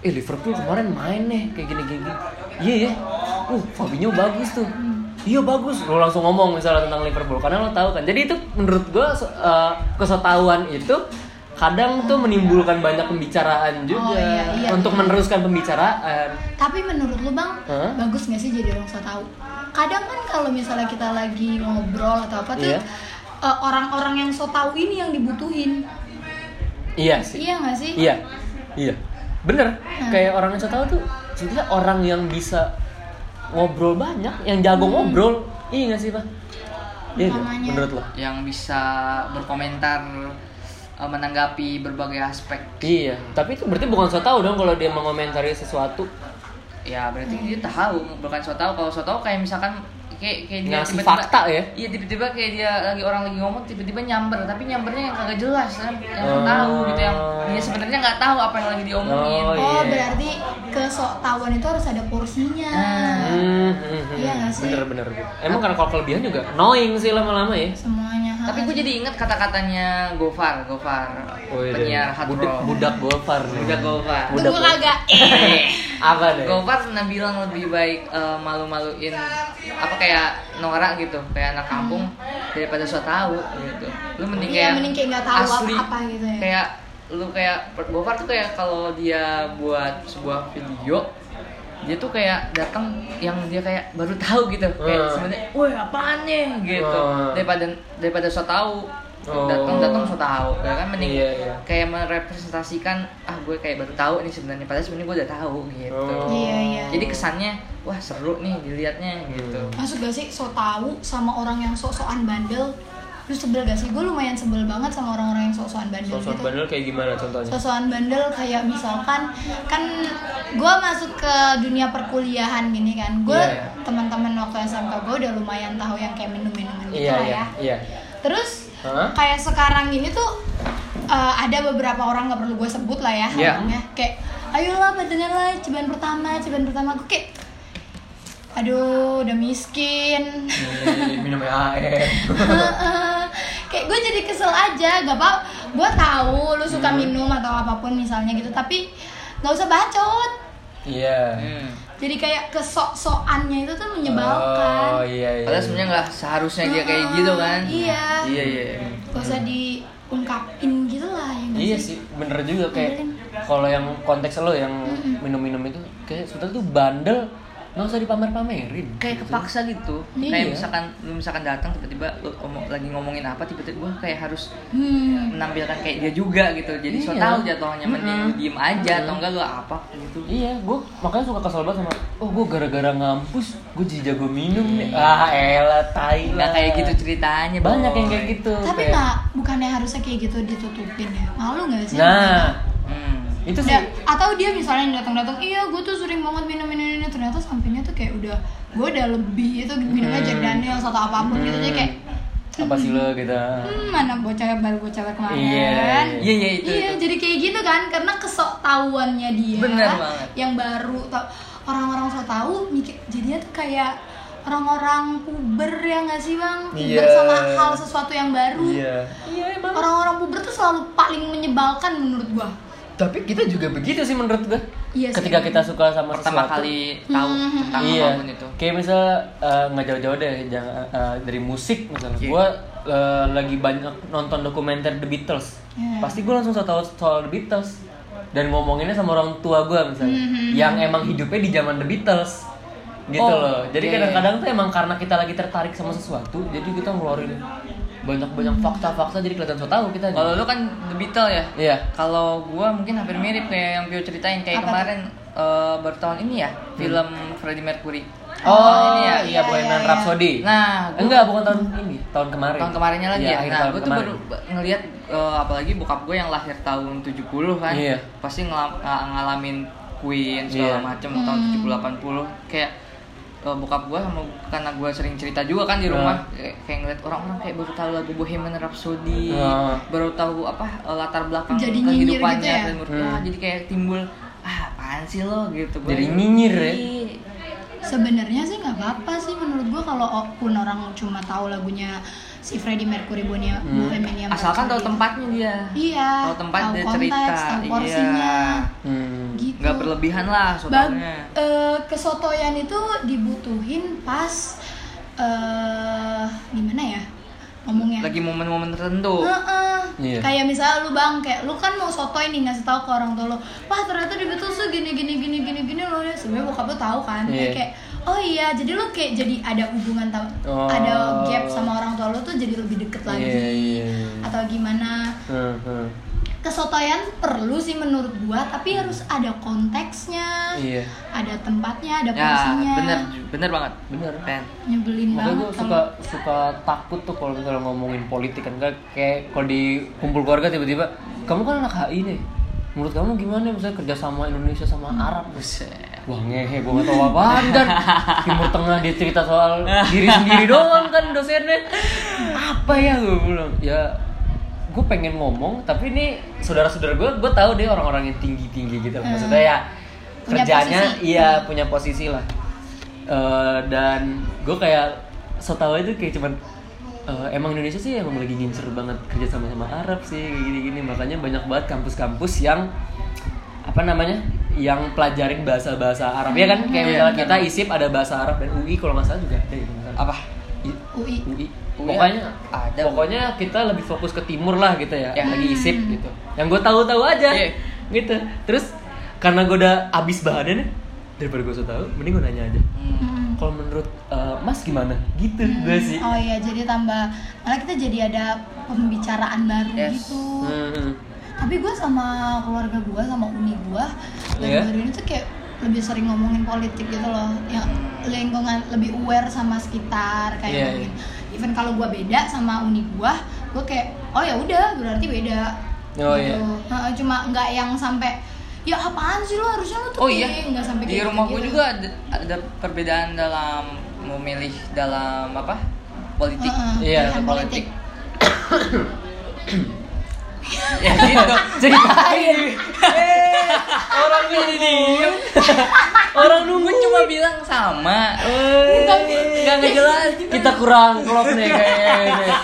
[SPEAKER 1] Eh Liverpool kemarin main nih kayak gini gini. gini. Iya ya. Uh Fabinho bagus tuh. Iya bagus. Lo langsung ngomong misalnya tentang Liverpool karena lo tahu kan. Jadi itu menurut gue kesetahuan itu kadang tuh menimbulkan banyak pembicaraan juga
[SPEAKER 2] Oh, iya, iya.
[SPEAKER 1] untuk meneruskan pembicaraan.
[SPEAKER 2] Tapi menurut lu bang,
[SPEAKER 1] Hah?
[SPEAKER 2] bagus gak sih jadi orang so tau? Kadang kan kalau misalnya kita lagi ngobrol atau apa tuh
[SPEAKER 1] Iya.
[SPEAKER 2] eh, orang-orang yang so tau ini yang dibutuhin.
[SPEAKER 1] Iya sih.
[SPEAKER 2] Iya gak sih?
[SPEAKER 1] Iya, iya, bener. Kayak orang yang saya tahu tuh sebetulnya orang yang bisa ngobrol banyak, yang
[SPEAKER 2] Hmm.
[SPEAKER 1] jago ngobrol, iya nggak sih pak? Iya, nggak?
[SPEAKER 2] Utamanya.
[SPEAKER 1] menurut lo?
[SPEAKER 3] Yang bisa berkomentar eh, menanggapi berbagai aspek.
[SPEAKER 1] Iya, tapi itu berarti bukan saya tahu dong kalau dia mengomentari sesuatu.
[SPEAKER 3] Ya berarti dia
[SPEAKER 1] Hmm.
[SPEAKER 3] tahu bukan so tahu kalau so tahu kayak misalkan kayak kayak dia
[SPEAKER 1] Ngasih fakta ya?
[SPEAKER 3] Iya tiba-tiba kayak dia lagi orang lagi ngomong tiba-tiba nyamber tapi nyambernya yang kagak jelas kan yang so tahu gitu yang dia sebenarnya nggak tahu apa yang lagi diomongin.
[SPEAKER 1] Oh,
[SPEAKER 2] Oh,
[SPEAKER 1] iya.
[SPEAKER 2] berarti kesoktauan itu harus ada porsinya.
[SPEAKER 1] Hmm, hmm, hmm.
[SPEAKER 2] Iya nggak sih?
[SPEAKER 1] bener bener. Emang karena kalau kelebihan juga annoying sih lama-lama ya.
[SPEAKER 2] Semuanya. ha.
[SPEAKER 3] Tapi gue jadi inget kata-katanya Gofar, Gofar
[SPEAKER 1] iya.
[SPEAKER 3] penyiar hard
[SPEAKER 1] budak,
[SPEAKER 3] rock.
[SPEAKER 1] budak golfar.
[SPEAKER 3] Budak Gofar.
[SPEAKER 2] Tuh gue kagak.
[SPEAKER 1] Eh, apa deh?
[SPEAKER 3] Gofar pernah bilang lebih baik eh, malu-maluin apa kayak norak gitu, kayak anak kampung daripada so tahu gitu. Lu mending
[SPEAKER 2] Iya,
[SPEAKER 3] kayak
[SPEAKER 2] mending kayak nggak tahu
[SPEAKER 3] asli,
[SPEAKER 2] apa-apa gitu ya.
[SPEAKER 3] Kayak lu kayak Gofar tuh kayak kalau dia buat sebuah video dia tuh kayak datang yang dia kayak baru tahu gitu kayak
[SPEAKER 1] Hmm.
[SPEAKER 3] sebenarnya wah apaan nih gitu
[SPEAKER 1] Hmm.
[SPEAKER 3] daripada daripada so tahu
[SPEAKER 1] Oh.
[SPEAKER 3] datang datang so tahu ya kan mending
[SPEAKER 1] Iya, iya.
[SPEAKER 3] kayak merepresentasikan ah gue kayak baru tahu nih sebenarnya padahal sebenarnya gue udah tahu gitu
[SPEAKER 1] Oh.
[SPEAKER 2] Iya, iya.
[SPEAKER 3] jadi kesannya wah seru nih dilihatnya gitu
[SPEAKER 2] Masuk gak sih so tau sama orang yang sok-sokan bandel? Lu sebel gak sih? Gue lumayan sebel banget sama orang-orang yang sok-sokan bandel
[SPEAKER 1] Sosok
[SPEAKER 2] gitu.
[SPEAKER 1] bandel kayak gimana contohnya?
[SPEAKER 2] sosokan bandel kayak misalkan kan gue masuk ke dunia perkuliahan gini kan gue
[SPEAKER 1] Iya, iya.
[SPEAKER 2] teman-teman waktu SMK gue udah lumayan tahu yang kayak minum-minuman
[SPEAKER 1] Iya
[SPEAKER 2] gitu lah
[SPEAKER 1] iya
[SPEAKER 2] ya
[SPEAKER 1] iya.
[SPEAKER 2] terus
[SPEAKER 1] Hah?
[SPEAKER 2] kayak sekarang ini tuh eh, ada beberapa orang nggak perlu gue sebut lah ya
[SPEAKER 1] Iya.
[SPEAKER 2] orangnya kayak ayolah badengar lah cobaan pertama cobaan pertama gue kayak aduh udah miskin
[SPEAKER 1] Ih, Minum AR.
[SPEAKER 2] Heeh. kayak gue jadi kesel aja gak apa gue tahu lu suka
[SPEAKER 1] Hmm.
[SPEAKER 2] minum atau apapun misalnya gitu tapi nggak usah bacot
[SPEAKER 1] Iya.
[SPEAKER 3] Hmm.
[SPEAKER 2] jadi kayak kesok-sokannya itu tuh
[SPEAKER 1] Oh
[SPEAKER 2] menyebalkan
[SPEAKER 1] iya iya.
[SPEAKER 3] padahal sebenarnya nggak seharusnya dia kayak
[SPEAKER 1] Ah,
[SPEAKER 3] gitu kan
[SPEAKER 2] Iya.
[SPEAKER 3] iya iya
[SPEAKER 2] gak usah diungkapin gitu lah ya nggak
[SPEAKER 1] Iya
[SPEAKER 2] sih?
[SPEAKER 1] sih, bener
[SPEAKER 2] Iya.
[SPEAKER 1] juga kayak kalau yang konteks lo yang minum-minum itu kayak sebetulnya tuh bandel nggak usah dipamer-pamerin
[SPEAKER 3] kayak
[SPEAKER 1] gitu.
[SPEAKER 3] kepaksa gitu
[SPEAKER 2] Iya.
[SPEAKER 3] kayak misalkan lu misalkan datang tiba-tiba lu ngomong- lagi ngomongin apa tiba-tiba wah kayak harus
[SPEAKER 2] Hmm.
[SPEAKER 3] menampilkan kayak dia juga gitu jadi so
[SPEAKER 1] Iya.
[SPEAKER 3] tau jatuhnya mending
[SPEAKER 1] Mm-mm.
[SPEAKER 3] diem aja atau enggak lu apa gitu
[SPEAKER 1] Iya, gue makanya suka kesel banget sama Oh gue gara-gara ngampus, gue jadi jago minum nih
[SPEAKER 2] Iya.
[SPEAKER 1] Ah elah, tai
[SPEAKER 3] nggak
[SPEAKER 1] lah.
[SPEAKER 3] kayak gitu Oh. ceritanya
[SPEAKER 1] Banyak
[SPEAKER 3] Boy.
[SPEAKER 1] yang kayak gitu
[SPEAKER 2] Tapi
[SPEAKER 1] kayak-
[SPEAKER 2] nggak, bukannya harusnya kayak gitu ditutupin ya? Malu nggak sih?
[SPEAKER 1] Nah,
[SPEAKER 3] Hmm.
[SPEAKER 1] itu sih
[SPEAKER 2] Da- atau dia misalnya datang-datang, iya gue tuh sering banget minum ini ini ternyata sampingnya tuh kayak udah gue udah lebih itu minumnya
[SPEAKER 1] Hmm.
[SPEAKER 2] Jack Daniels atau apapun gitu jadi kayak
[SPEAKER 1] Apa sih lo gitu
[SPEAKER 2] hmm, mana bocah baru bocah kemarin
[SPEAKER 1] Iya,
[SPEAKER 3] iya iya itu,
[SPEAKER 2] iya
[SPEAKER 3] itu.
[SPEAKER 2] jadi kayak gitu kan karena kesok tahuannya dia
[SPEAKER 3] Bener banget.
[SPEAKER 2] yang baru tau- orang-orang so tahu mikir jadinya tuh kayak orang-orang puber ya nggak sih bang puber
[SPEAKER 1] Iya.
[SPEAKER 2] sama hal sesuatu yang baru orang-orang puber tuh selalu paling menyebalkan menurut gua
[SPEAKER 1] Tapi kita juga begitu sih menurut gue
[SPEAKER 2] Iya sih.
[SPEAKER 1] Ketika kita suka sama
[SPEAKER 3] pertama
[SPEAKER 1] sesuatu
[SPEAKER 3] kali tahu
[SPEAKER 2] Hmm.
[SPEAKER 3] tentang
[SPEAKER 1] iya.
[SPEAKER 3] apapun itu
[SPEAKER 1] Kayak misal eh, nggak jauh-jauh deh jangan eh, dari musik misalnya.
[SPEAKER 3] Iya.
[SPEAKER 1] Gue lagi banyak nonton dokumenter The Beatles.
[SPEAKER 2] Iya.
[SPEAKER 1] Pasti gue langsung tahu soal The Beatles dan ngomonginnya sama orang tua gue misalnya,
[SPEAKER 2] Mhm.
[SPEAKER 1] yang emang hidupnya di zaman The Beatles gitu
[SPEAKER 3] Oh,
[SPEAKER 1] loh. Jadi
[SPEAKER 3] iya, iya.
[SPEAKER 1] kadang-kadang tuh emang karena kita lagi tertarik sama sesuatu, jadi kita ngeluarin banyak-banyak fakta-fakta jadi kelihatan so tahu kita.
[SPEAKER 3] kalau lu kan The Beatles ya
[SPEAKER 1] Iya.
[SPEAKER 3] kalau gua mungkin hampir mirip kayak yang Pio ceritain kayak
[SPEAKER 2] Apa
[SPEAKER 3] kemarin eh, baru tahun ini ya film Freddie Mercury Tahun
[SPEAKER 1] Oh
[SPEAKER 3] ini ya.
[SPEAKER 1] iya,
[SPEAKER 2] iya,
[SPEAKER 1] Bohemian
[SPEAKER 2] iya.
[SPEAKER 1] Rhapsody.
[SPEAKER 3] nah gua-
[SPEAKER 1] Enggak, bukan tahun ini, tahun kemarin.
[SPEAKER 3] tahun kemarinnya lagi
[SPEAKER 1] Iya,
[SPEAKER 3] ya.
[SPEAKER 1] akhir
[SPEAKER 3] Nah,
[SPEAKER 1] tahun
[SPEAKER 3] gue tuh
[SPEAKER 1] kemarin.
[SPEAKER 3] baru ba- ngelihat eh, apalagi bokap gue yang lahir tahun 70 kan.
[SPEAKER 1] Iya.
[SPEAKER 3] Pasti ngelam- eh, ngalamin Queen
[SPEAKER 1] Iya.
[SPEAKER 3] segala macem tahun
[SPEAKER 2] Hmm.
[SPEAKER 3] 70 80 kayak eh, bokap gue sama karena gue sering cerita juga kan
[SPEAKER 1] Iya.
[SPEAKER 3] di rumah kayak kayak ngeliat orang-orang kayak baru tahu lagu Bohemian Rhapsody,
[SPEAKER 1] Nah.
[SPEAKER 3] baru tahu apa eh, latar belakang
[SPEAKER 2] Jadi nyinyir
[SPEAKER 3] kehidupannya
[SPEAKER 2] gitu ya?
[SPEAKER 3] dan menurut gue,
[SPEAKER 1] Hmm.
[SPEAKER 3] "Ah, jadi kayak timbul ah apaan sih lo gitu Gua-
[SPEAKER 1] Jadi nyinyir ya?
[SPEAKER 3] Iya.
[SPEAKER 2] Sebenarnya sih nggak apa-apa sih menurut gua kalau o- pun orang cuma tahu lagunya si Freddie Mercury Bonia
[SPEAKER 1] Hmm.
[SPEAKER 2] Bohemian
[SPEAKER 3] Asalkan tahu
[SPEAKER 2] Rhapsody.
[SPEAKER 3] tempatnya dia.
[SPEAKER 2] Iya.
[SPEAKER 3] Tahu tempat
[SPEAKER 2] tahu
[SPEAKER 3] dia
[SPEAKER 2] konteks,
[SPEAKER 3] cerita.
[SPEAKER 2] Tahu
[SPEAKER 3] Iya.
[SPEAKER 2] porsinya.
[SPEAKER 1] Hmm.
[SPEAKER 2] Gitu.
[SPEAKER 3] nggak berlebihan lah
[SPEAKER 2] Bag,
[SPEAKER 3] sotonya
[SPEAKER 2] eh, kesotoyan itu dibutuhin pas eh gimana ya ngomongnya?
[SPEAKER 3] lagi momen-momen tertentu
[SPEAKER 2] Heeh.
[SPEAKER 1] Iya.
[SPEAKER 2] Kayak misalnya lu bang, kayak lu kan mau sotoy nih ngasih tahu ke orang tua lu, wah ternyata di Beatles tuh gini gini gini gini gini loh ya. Sebenarnya bokap lu tahu kan, Kayak-
[SPEAKER 1] Iya.
[SPEAKER 2] kayak oh iya, jadi lu kayak jadi ada hubungan tau,
[SPEAKER 1] Oh.
[SPEAKER 2] ada gap sama orang tua lu tuh jadi lebih deket lagi
[SPEAKER 1] Iya, iya, iya.
[SPEAKER 2] atau gimana.
[SPEAKER 1] Hmm, hmm.
[SPEAKER 2] Kesotoyan perlu sih menurut gua, tapi harus ada konteksnya,
[SPEAKER 1] Iya.
[SPEAKER 2] ada tempatnya, ada
[SPEAKER 3] ya
[SPEAKER 2] porsinya.
[SPEAKER 3] bener bener banget
[SPEAKER 1] Bener.
[SPEAKER 3] Pen.
[SPEAKER 2] Nyebelin
[SPEAKER 1] Makanya gue
[SPEAKER 2] banget
[SPEAKER 1] suka suka takut tuh kalau misalnya ngomongin politik kan kayak, kayak kalau di kumpul keluarga tiba-tiba kamu kan anak HI nih. Menurut kamu gimana misalnya kerja sama Indonesia sama Arab?
[SPEAKER 3] Buset.
[SPEAKER 1] Wah ngehe, gue gak tau apaan kan Timur Tengah dia cerita soal diri sendiri doang kan dosennya Apa ya gue bilang Ya gue pengen ngomong tapi ini saudara-saudara gue gue tahu deh orang-orang yang tinggi-tinggi gitu maksudnya ya
[SPEAKER 2] Punya
[SPEAKER 1] kerjanya
[SPEAKER 2] posisi.
[SPEAKER 1] iya punya posisi lah Eh, dan gue kayak setahu itu kayak cuman eh, emang Indonesia sih emang lagi ngincer banget kerja sama sama Arab sih kayak gini-gini makanya banyak banget kampus-kampus yang apa namanya yang pelajarin bahasa-bahasa Arab ya kan kayak
[SPEAKER 3] Iya,
[SPEAKER 1] misalnya
[SPEAKER 3] benar.
[SPEAKER 1] kita ISIP ada bahasa Arab dan UI kalau nggak salah juga ada gitu kan.
[SPEAKER 3] apa
[SPEAKER 1] I- ya?
[SPEAKER 2] UI.
[SPEAKER 1] UI
[SPEAKER 3] UI
[SPEAKER 1] pokoknya
[SPEAKER 3] ada.
[SPEAKER 1] pokoknya kita lebih fokus ke timur lah gitu ya yang lagi isip
[SPEAKER 2] Hmm.
[SPEAKER 1] gitu yang gue tahu-tahu aja
[SPEAKER 3] Iya.
[SPEAKER 1] gitu terus karena gue udah abis bahannya nih daripada gue tahu mending gue nanya aja
[SPEAKER 3] Hmm.
[SPEAKER 2] Hmm.
[SPEAKER 1] kalau menurut eh, mas gimana gitu gue sih
[SPEAKER 2] Oh iya, jadi tambah malah kita jadi ada pembicaraan baru
[SPEAKER 3] Yes.
[SPEAKER 2] gitu.
[SPEAKER 1] Hmm.
[SPEAKER 2] Tapi gue sama keluarga gue sama uni gue
[SPEAKER 1] Iya.
[SPEAKER 2] baru-baru ini tuh kayak lebih sering ngomongin politik gitu loh. Yang lingkungan lebih aware sama sekitar kayak
[SPEAKER 1] Iya,
[SPEAKER 2] ngomongin. Even kalau gue beda sama uni gue, gue kayak oh ya udah berarti beda. Gitu.
[SPEAKER 1] Oh, iya.
[SPEAKER 2] Heeh, Cuma nggak yang sampai ya apaan sih lo harusnya lo tuh
[SPEAKER 3] oh
[SPEAKER 2] gini."
[SPEAKER 3] iya
[SPEAKER 2] nggak sampai
[SPEAKER 3] di
[SPEAKER 2] kayak gitu."
[SPEAKER 3] rumah gue
[SPEAKER 2] gitu-gitu.
[SPEAKER 3] juga ada, ada perbedaan dalam memilih dalam apa politik
[SPEAKER 2] Heeh,
[SPEAKER 1] Iya,
[SPEAKER 2] pilihan
[SPEAKER 3] politik ya gitu
[SPEAKER 1] ceritain Eh, orang jadi diem orang nunggu
[SPEAKER 3] gue cuma bilang sama
[SPEAKER 1] Eh,
[SPEAKER 3] nggak ngejelasin
[SPEAKER 1] kita kurang klop
[SPEAKER 3] Iya,
[SPEAKER 1] nih kayaknya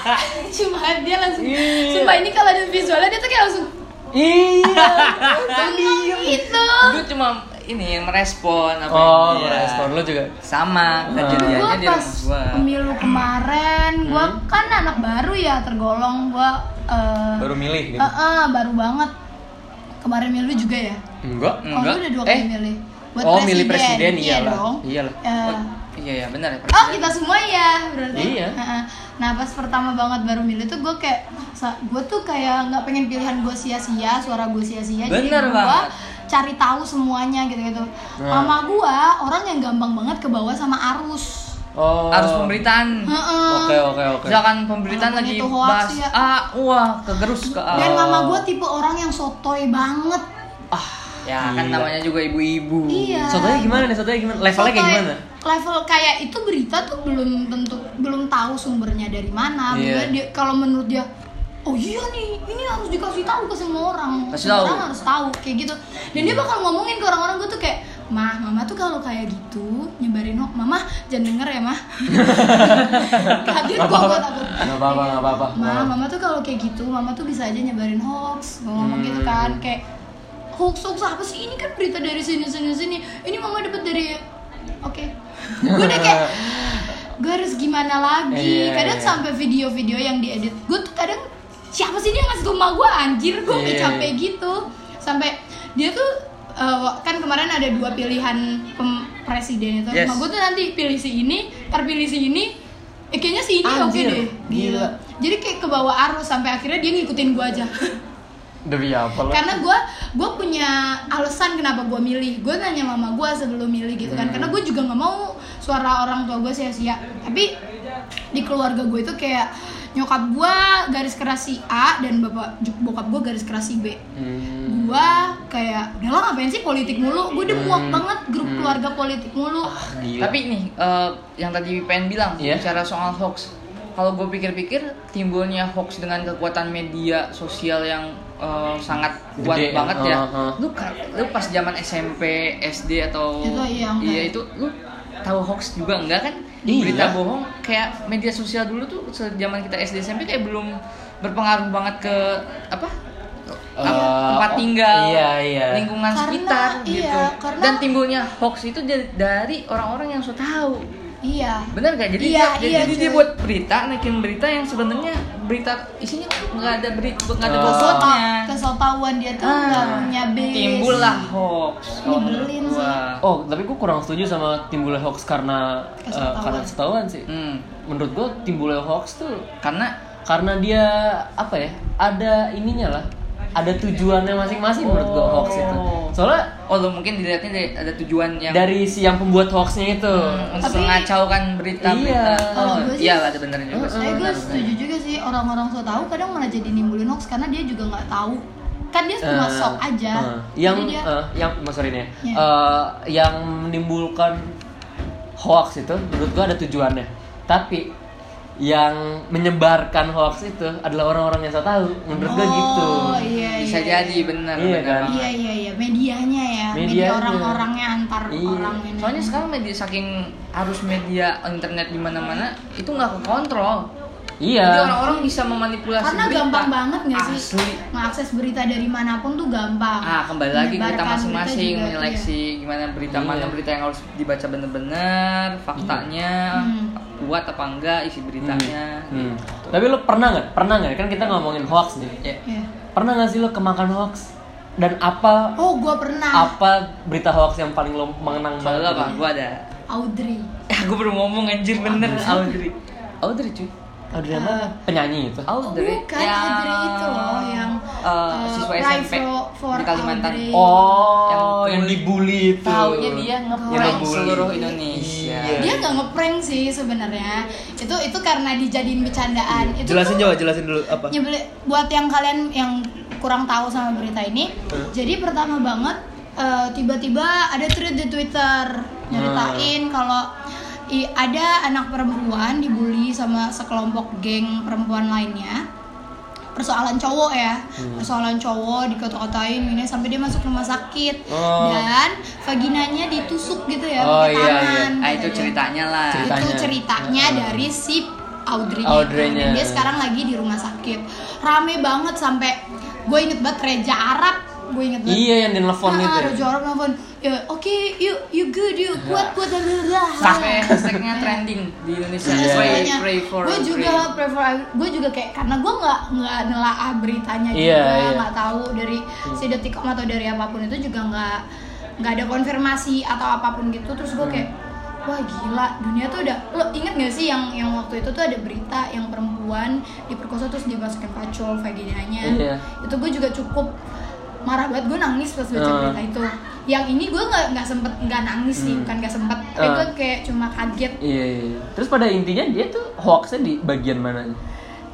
[SPEAKER 2] Cuma dia langsung
[SPEAKER 1] Iya.
[SPEAKER 2] Sumpah ini kalau ada visualnya dia tuh kayak langsung
[SPEAKER 1] iya
[SPEAKER 2] Seneng gitu
[SPEAKER 3] gue cuma ini merespon apa
[SPEAKER 1] oh
[SPEAKER 3] yang dia.
[SPEAKER 1] respon lu juga
[SPEAKER 3] sama
[SPEAKER 2] Gue
[SPEAKER 1] Iya,
[SPEAKER 3] kejadiannya di
[SPEAKER 2] pas
[SPEAKER 3] rumah gue
[SPEAKER 2] pemilu kemarin Gue
[SPEAKER 1] Hmm?
[SPEAKER 2] kan anak baru ya tergolong Gue eh
[SPEAKER 1] baru milih
[SPEAKER 2] eh,
[SPEAKER 1] gitu
[SPEAKER 2] eh, baru banget Kemarin milu juga ya
[SPEAKER 1] enggak
[SPEAKER 2] Oh lu udah dua kali
[SPEAKER 3] eh,
[SPEAKER 2] milih buat
[SPEAKER 1] Oh,
[SPEAKER 2] presiden. Iya
[SPEAKER 1] milih presiden, iyalah.
[SPEAKER 2] dong.
[SPEAKER 1] Iyalah.
[SPEAKER 2] Eh,
[SPEAKER 3] Iya ya benar ya.
[SPEAKER 2] Oh
[SPEAKER 3] presiden.
[SPEAKER 2] kita semua ya berarti.
[SPEAKER 1] Iya.
[SPEAKER 2] Heeh. Nah pas pertama banget baru milih tuh gue kayak gue tuh kayak nggak pengen pilihan gue sia-sia, suara gue sia-sia.
[SPEAKER 3] Bener
[SPEAKER 2] jadi gue
[SPEAKER 3] banget.
[SPEAKER 2] cari tahu semuanya gitu-gitu.
[SPEAKER 1] Nah.
[SPEAKER 2] Mama gue orang yang gampang banget ke bawah sama arus.
[SPEAKER 1] Oh.
[SPEAKER 3] Harus pemberitaan.
[SPEAKER 2] Heeh.
[SPEAKER 1] Oke oke oke.
[SPEAKER 3] Misalkan pemberitaan
[SPEAKER 2] Walaupun
[SPEAKER 3] lagi
[SPEAKER 2] itu hoax,
[SPEAKER 3] bahas
[SPEAKER 2] ya.
[SPEAKER 3] ah wah kegerus ke ah.
[SPEAKER 2] Dan
[SPEAKER 1] Oh.
[SPEAKER 2] mama gue tipe orang yang sotoy banget.
[SPEAKER 3] Ya kan
[SPEAKER 1] Gila.
[SPEAKER 3] namanya juga
[SPEAKER 1] Hmm.
[SPEAKER 3] ibu-ibu.
[SPEAKER 2] Iya.
[SPEAKER 1] Sotonya gimana nih? Sotonya gimana? Levelnya kayak
[SPEAKER 2] Sotoy.
[SPEAKER 1] gimana?
[SPEAKER 2] ya, Level kayak itu berita tuh belum tentu belum tahu sumbernya dari
[SPEAKER 1] Iya.
[SPEAKER 2] mana. Maksudnya dia- kalau menurut dia Oh iya nih, ini harus dikasih tahu ke semua orang.
[SPEAKER 3] Kasih
[SPEAKER 2] Semua
[SPEAKER 3] tahu.
[SPEAKER 2] orang harus tahu kayak gitu. Dan
[SPEAKER 1] Iya.
[SPEAKER 2] dia bakal ngomongin ke orang-orang gue tuh kayak, "Mah, mama tuh kalau kayak gitu nyebarin hoax, mama jangan denger ya, mah." Kaget
[SPEAKER 1] Nggak
[SPEAKER 2] gua
[SPEAKER 1] apa-apa.
[SPEAKER 2] gua takut.
[SPEAKER 1] Nggak apa-apa, nggak apa-apa.
[SPEAKER 2] Ma, mama tuh kalau kayak gitu, mama tuh bisa aja nyebarin hoax, gua ngomong
[SPEAKER 1] Hmm.
[SPEAKER 2] gitu kan, kayak hoax hoax apa sih ini kan berita dari sini sini sini, ini mama dapat dari, oke, gue udah kayak gue harus gimana lagi,
[SPEAKER 1] Iya,
[SPEAKER 2] kadang
[SPEAKER 1] iya.
[SPEAKER 2] sampai video-video yang diedit, gue tuh kadang siapa sih dia ngasih ke emak gue anjir, gue udah
[SPEAKER 1] Iya.
[SPEAKER 2] capek gitu, sampai dia tuh eh, kan kemarin ada dua pilihan pem- presiden itu,
[SPEAKER 3] Yes.
[SPEAKER 2] emak gue tuh nanti pilih si ini, terpilih si ini, eh, kayaknya si ini oke
[SPEAKER 1] Anjir,
[SPEAKER 2] deh,
[SPEAKER 1] gila.
[SPEAKER 2] jadi kayak ke bawah arus sampai akhirnya dia ngikutin gue aja.
[SPEAKER 1] Demi apa lo?
[SPEAKER 2] Karena gue gue punya alasan kenapa gue milih. Gue nanya mama gue sebelum milih gitu
[SPEAKER 3] Hmm.
[SPEAKER 2] kan. Karena gue juga nggak mau suara orang tua gue sia-sia. Tapi di keluarga gue itu kayak nyokap gue garis keras si A dan bapak bokap gue garis keras si B.
[SPEAKER 1] Hmm.
[SPEAKER 2] Gue kayak udahlah ngapain sih politik mulu. Gue udah muak
[SPEAKER 3] Hmm.
[SPEAKER 2] banget grup keluarga politik mulu.
[SPEAKER 1] Gila.
[SPEAKER 3] Tapi nih eh, yang tadi Pengen bilang
[SPEAKER 1] Iya.
[SPEAKER 3] bicara soal hoax. Kalau gue pikir-pikir timbulnya hoax dengan kekuatan media sosial yang eh, sangat kuat
[SPEAKER 1] Gede,
[SPEAKER 3] banget ya.
[SPEAKER 1] uh-huh.
[SPEAKER 3] Lu ka- lu pas zaman SMP, SD atau
[SPEAKER 2] Itu iya, enggak.
[SPEAKER 3] itu lu tahu hoax juga enggak kan?
[SPEAKER 1] Iya.
[SPEAKER 3] Berita bohong kayak media sosial dulu tuh se- zaman kita SD SMP kayak belum berpengaruh banget ke apa?
[SPEAKER 1] Eh,
[SPEAKER 3] Apa? tempat
[SPEAKER 1] oh,
[SPEAKER 3] tinggal,
[SPEAKER 1] iya, iya.
[SPEAKER 3] lingkungan
[SPEAKER 2] Karena-
[SPEAKER 3] sekitar
[SPEAKER 2] iya,
[SPEAKER 3] gitu.
[SPEAKER 2] karena-
[SPEAKER 3] Dan timbulnya hoax itu da- dari orang-orang yang so tahu.
[SPEAKER 2] Iya.
[SPEAKER 3] Benar gak? Jadi
[SPEAKER 2] Iya,
[SPEAKER 3] dia,
[SPEAKER 2] iya,
[SPEAKER 3] jadi dia
[SPEAKER 2] cuy.
[SPEAKER 3] buat berita, naikin berita yang sebenarnya berita isinya nggak ada beri, nggak ada
[SPEAKER 1] Oh.
[SPEAKER 3] bosotnya.
[SPEAKER 2] Kesotawan dia tuh
[SPEAKER 3] Ah,
[SPEAKER 2] Ah, nggak punya base.
[SPEAKER 3] Timbul lah hoax. kalau menurut
[SPEAKER 2] Nyebelin
[SPEAKER 3] gua.
[SPEAKER 1] Oh, tapi gue kurang setuju sama timbulnya hoax karena eh,
[SPEAKER 2] Kesetauan.
[SPEAKER 1] karena setauan sih.
[SPEAKER 3] Hmm,
[SPEAKER 1] Menurut gue timbulnya hoax tuh
[SPEAKER 3] karena
[SPEAKER 1] karena dia apa ya? Ada ininya lah. Ada tujuannya masing-masing menurut gue hoax itu. Soalnya
[SPEAKER 3] oh lo mungkin dilihatnya dari- ada tujuan yang
[SPEAKER 1] dari si yang pembuat hoaxnya itu.
[SPEAKER 3] hmm, untuk
[SPEAKER 2] Tapi-
[SPEAKER 3] mengacaukan
[SPEAKER 1] Iya.
[SPEAKER 3] berita-berita. Oh,
[SPEAKER 2] Kalau gua sih-
[SPEAKER 3] iya ada benernya juga sih.
[SPEAKER 2] Tapi gue
[SPEAKER 3] benar, benar.
[SPEAKER 2] Ya, setuju juga sih orang-orang so tahu kadang malah jadi nimbulin hoax karena dia juga nggak tahu. Kan dia cuma
[SPEAKER 1] Eh,
[SPEAKER 2] sok aja.
[SPEAKER 1] eh, yang
[SPEAKER 2] Jadi dia
[SPEAKER 1] eh, yang mas sorry nih ya.
[SPEAKER 2] Iya.
[SPEAKER 1] Eh, yang menimbulkan hoax itu menurut gua ada tujuannya. Tapi yang menyebarkan hoax itu adalah orang-orang yang saya tahu. Menurut gua gitu.
[SPEAKER 2] Oh iya
[SPEAKER 3] Bisa
[SPEAKER 2] iya.
[SPEAKER 3] jadi benar
[SPEAKER 1] Iya,
[SPEAKER 3] benar.
[SPEAKER 1] kan?
[SPEAKER 2] Iya iya iya medianya ya.
[SPEAKER 1] Medianya.
[SPEAKER 2] Media orang-orangnya antar
[SPEAKER 1] Iya.
[SPEAKER 2] orang ini.
[SPEAKER 3] Soalnya sekarang media saking arus media internet di mana-mana itu nggak kekontrol.
[SPEAKER 1] Iya.
[SPEAKER 3] Jadi orang-orang bisa memanipulasi
[SPEAKER 2] karena
[SPEAKER 3] berita.
[SPEAKER 2] gampang banget nggak sih
[SPEAKER 3] Asli.
[SPEAKER 2] mengakses berita dari manapun tuh gampang.
[SPEAKER 3] Ah, kembali lagi ke kita
[SPEAKER 2] Menyebarkan
[SPEAKER 3] masing-masing
[SPEAKER 2] juga, Iya.
[SPEAKER 3] menyeleksi gimana berita
[SPEAKER 1] Iya.
[SPEAKER 3] mana berita yang harus dibaca bener-bener, faktanya
[SPEAKER 2] Hmm.
[SPEAKER 3] kuat apa enggak isi beritanya.
[SPEAKER 1] Hmm.
[SPEAKER 3] gitu.
[SPEAKER 1] Tapi lo pernah nggak? Pernah nggak? Kan kita ngomongin hoax nih.
[SPEAKER 3] Ya.
[SPEAKER 2] Iya. Iya.
[SPEAKER 1] Pernah nggak sih lo kemakan hoax? Dan apa
[SPEAKER 2] Oh gue pernah.
[SPEAKER 1] apa berita hoax yang paling lo mengenang
[SPEAKER 3] Kalau lu
[SPEAKER 1] banget?
[SPEAKER 3] apa? Gua ada.
[SPEAKER 2] Audrey.
[SPEAKER 3] Ya, gua baru ngomong anjir bener Audrey. Audrey cuy.
[SPEAKER 1] Audrey yang
[SPEAKER 2] Eh.
[SPEAKER 1] mana? penyanyi itu.
[SPEAKER 3] Audrey.
[SPEAKER 2] bukan, Audrey itu loh, yang,
[SPEAKER 3] eh,
[SPEAKER 2] eh,
[SPEAKER 3] siswa
[SPEAKER 2] Cry
[SPEAKER 3] SMP
[SPEAKER 2] for- for
[SPEAKER 3] di Kalimantan.
[SPEAKER 2] Audrey.
[SPEAKER 1] Oh,
[SPEAKER 3] Yang
[SPEAKER 1] yang, dibully itu.
[SPEAKER 3] Taunya dia ngeprank
[SPEAKER 1] ngebully.
[SPEAKER 3] seluruh Indonesia.
[SPEAKER 1] Iya.
[SPEAKER 2] dia nggak ngeprank sih sebenarnya itu itu karena dijadiin bercandaan itu
[SPEAKER 1] jelasin
[SPEAKER 2] tuh
[SPEAKER 1] coba jelasin dulu apa
[SPEAKER 2] nyebelin- buat yang kalian yang kurang tahu sama berita ini
[SPEAKER 1] Hmm.
[SPEAKER 2] jadi pertama banget eh, tiba-tiba ada thread di twitter nyeritain
[SPEAKER 1] Hmm.
[SPEAKER 2] kalau i- ada anak perempuan dibully sama sekelompok geng perempuan lainnya persoalan cowok ya
[SPEAKER 1] Hmm.
[SPEAKER 2] persoalan cowok dikata-katain ini sampai dia masuk rumah sakit
[SPEAKER 1] Oh.
[SPEAKER 2] dan vaginanya ditusuk gitu ya
[SPEAKER 1] Oh, iya,
[SPEAKER 2] pakai
[SPEAKER 1] iya.
[SPEAKER 2] tangan gitu ya.
[SPEAKER 3] Ah itu
[SPEAKER 2] katanya.
[SPEAKER 3] ceritanya lah.
[SPEAKER 1] Cerita. Ceritanya.
[SPEAKER 2] Itu ceritanya
[SPEAKER 1] Heeh.
[SPEAKER 2] dari si Audrey.
[SPEAKER 1] Audrey-nya.
[SPEAKER 2] Dia sekarang lagi di rumah sakit. Rame banget sampai gue inget banget Reja Arab. Gue inget banget.
[SPEAKER 1] iya yang di nelfon
[SPEAKER 2] Ah,
[SPEAKER 1] itu ya?
[SPEAKER 2] Reja Arab nelfon. Ya, oke, you you good, you kuat kuat blah, blah, blah."
[SPEAKER 3] Sampai hashtagnya trending di Indonesia.
[SPEAKER 1] Iya.
[SPEAKER 3] Pray,
[SPEAKER 2] Semuanya.
[SPEAKER 3] pray for
[SPEAKER 2] gue
[SPEAKER 3] pray.
[SPEAKER 2] juga prefer gue juga kayak karena gue nggak nggak nelaah beritanya gitu.
[SPEAKER 1] Iya,
[SPEAKER 2] juga
[SPEAKER 1] iya.
[SPEAKER 2] nggak tahu dari si detikcom atau dari apapun itu juga nggak nggak ada konfirmasi atau apapun gitu terus
[SPEAKER 1] Hmm.
[SPEAKER 2] gue kayak wah gila dunia tuh udah lo inget gak sih yang yang waktu itu tuh ada berita yang perempuan diperkosa terus dimasukin pacul vaginanya
[SPEAKER 1] Iya.
[SPEAKER 2] itu gue juga cukup marah banget gue nangis pas baca
[SPEAKER 1] Ah.
[SPEAKER 2] berita itu yang ini gue nggak nggak sempet nggak nangis sih
[SPEAKER 1] Hmm.
[SPEAKER 2] bukan nggak sempet tapi
[SPEAKER 1] Ah.
[SPEAKER 2] gue kayak cuma kaget
[SPEAKER 1] Iya, iya, iya. Terus pada intinya dia tuh hoaxnya di bagian mana?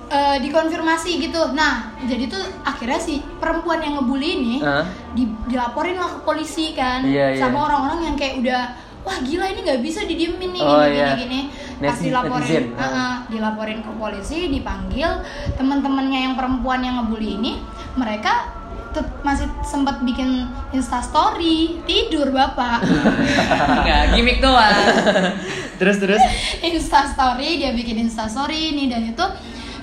[SPEAKER 2] Eh, dikonfirmasi gitu nah jadi tuh akhirnya si perempuan yang ngebully ini
[SPEAKER 1] Ah.
[SPEAKER 2] di- dilaporin lah ke polisi kan
[SPEAKER 1] Iya, iya.
[SPEAKER 2] sama orang-orang yang kayak udah wah gila ini nggak bisa didiemin nih
[SPEAKER 1] Oh,
[SPEAKER 2] gini
[SPEAKER 1] iya.
[SPEAKER 2] gini gini pas
[SPEAKER 1] Netizen- netizen.
[SPEAKER 2] dilaporin
[SPEAKER 1] Ah.
[SPEAKER 2] eh, dilaporin ke polisi dipanggil teman-temannya yang perempuan yang ngebully ini mereka tet- masih sempat bikin insta story tidur bapak
[SPEAKER 3] Enggak, gimmick doang.
[SPEAKER 1] Terus terus.
[SPEAKER 2] Insta story dia bikin Insta story ini dan itu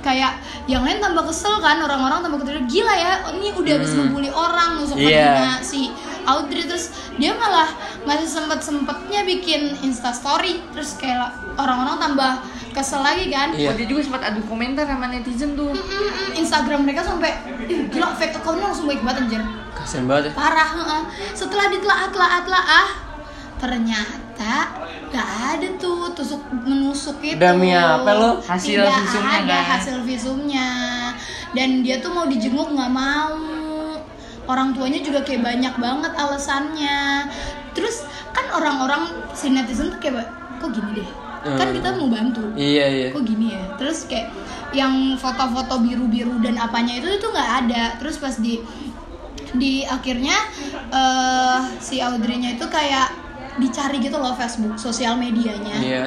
[SPEAKER 2] kayak yang lain tambah kesel kan orang-orang tambah kesel gila ya ini udah habis
[SPEAKER 1] Hmm.
[SPEAKER 2] ngebully orang nusuk
[SPEAKER 1] Iya.
[SPEAKER 2] vagina si Audrey terus dia malah masih sempet sempetnya bikin Insta story terus kayak orang-orang tambah kesel lagi kan
[SPEAKER 1] Iya.
[SPEAKER 3] Oh, dia juga sempat adu komentar sama netizen tuh.
[SPEAKER 2] Mm-mm, Instagram mereka sampai "Ih, gila fake accountnya langsung baik banget anjir
[SPEAKER 1] Kasian banget ya.
[SPEAKER 2] parah heeh. setelah ditelaah telaah telaah ternyata gak ada tuh tusuk menusuk itu
[SPEAKER 1] Demi apa lo?
[SPEAKER 3] Hasil
[SPEAKER 2] Tidak
[SPEAKER 3] visumnya,
[SPEAKER 2] ada
[SPEAKER 3] kan?
[SPEAKER 2] hasil visumnya dan dia tuh mau dijenguk nggak mau orang tuanya juga kayak banyak banget alasannya terus kan orang-orang si netizen tuh kayak kok gini deh kan
[SPEAKER 1] Hmm.
[SPEAKER 2] kita mau bantu
[SPEAKER 1] Iya, iya.
[SPEAKER 2] kok gini ya terus kayak yang foto-foto biru-biru dan apanya itu itu nggak ada terus pas di di akhirnya eh si Audrey-nya itu kayak dicari gitu loh Facebook sosial medianya
[SPEAKER 1] Iya.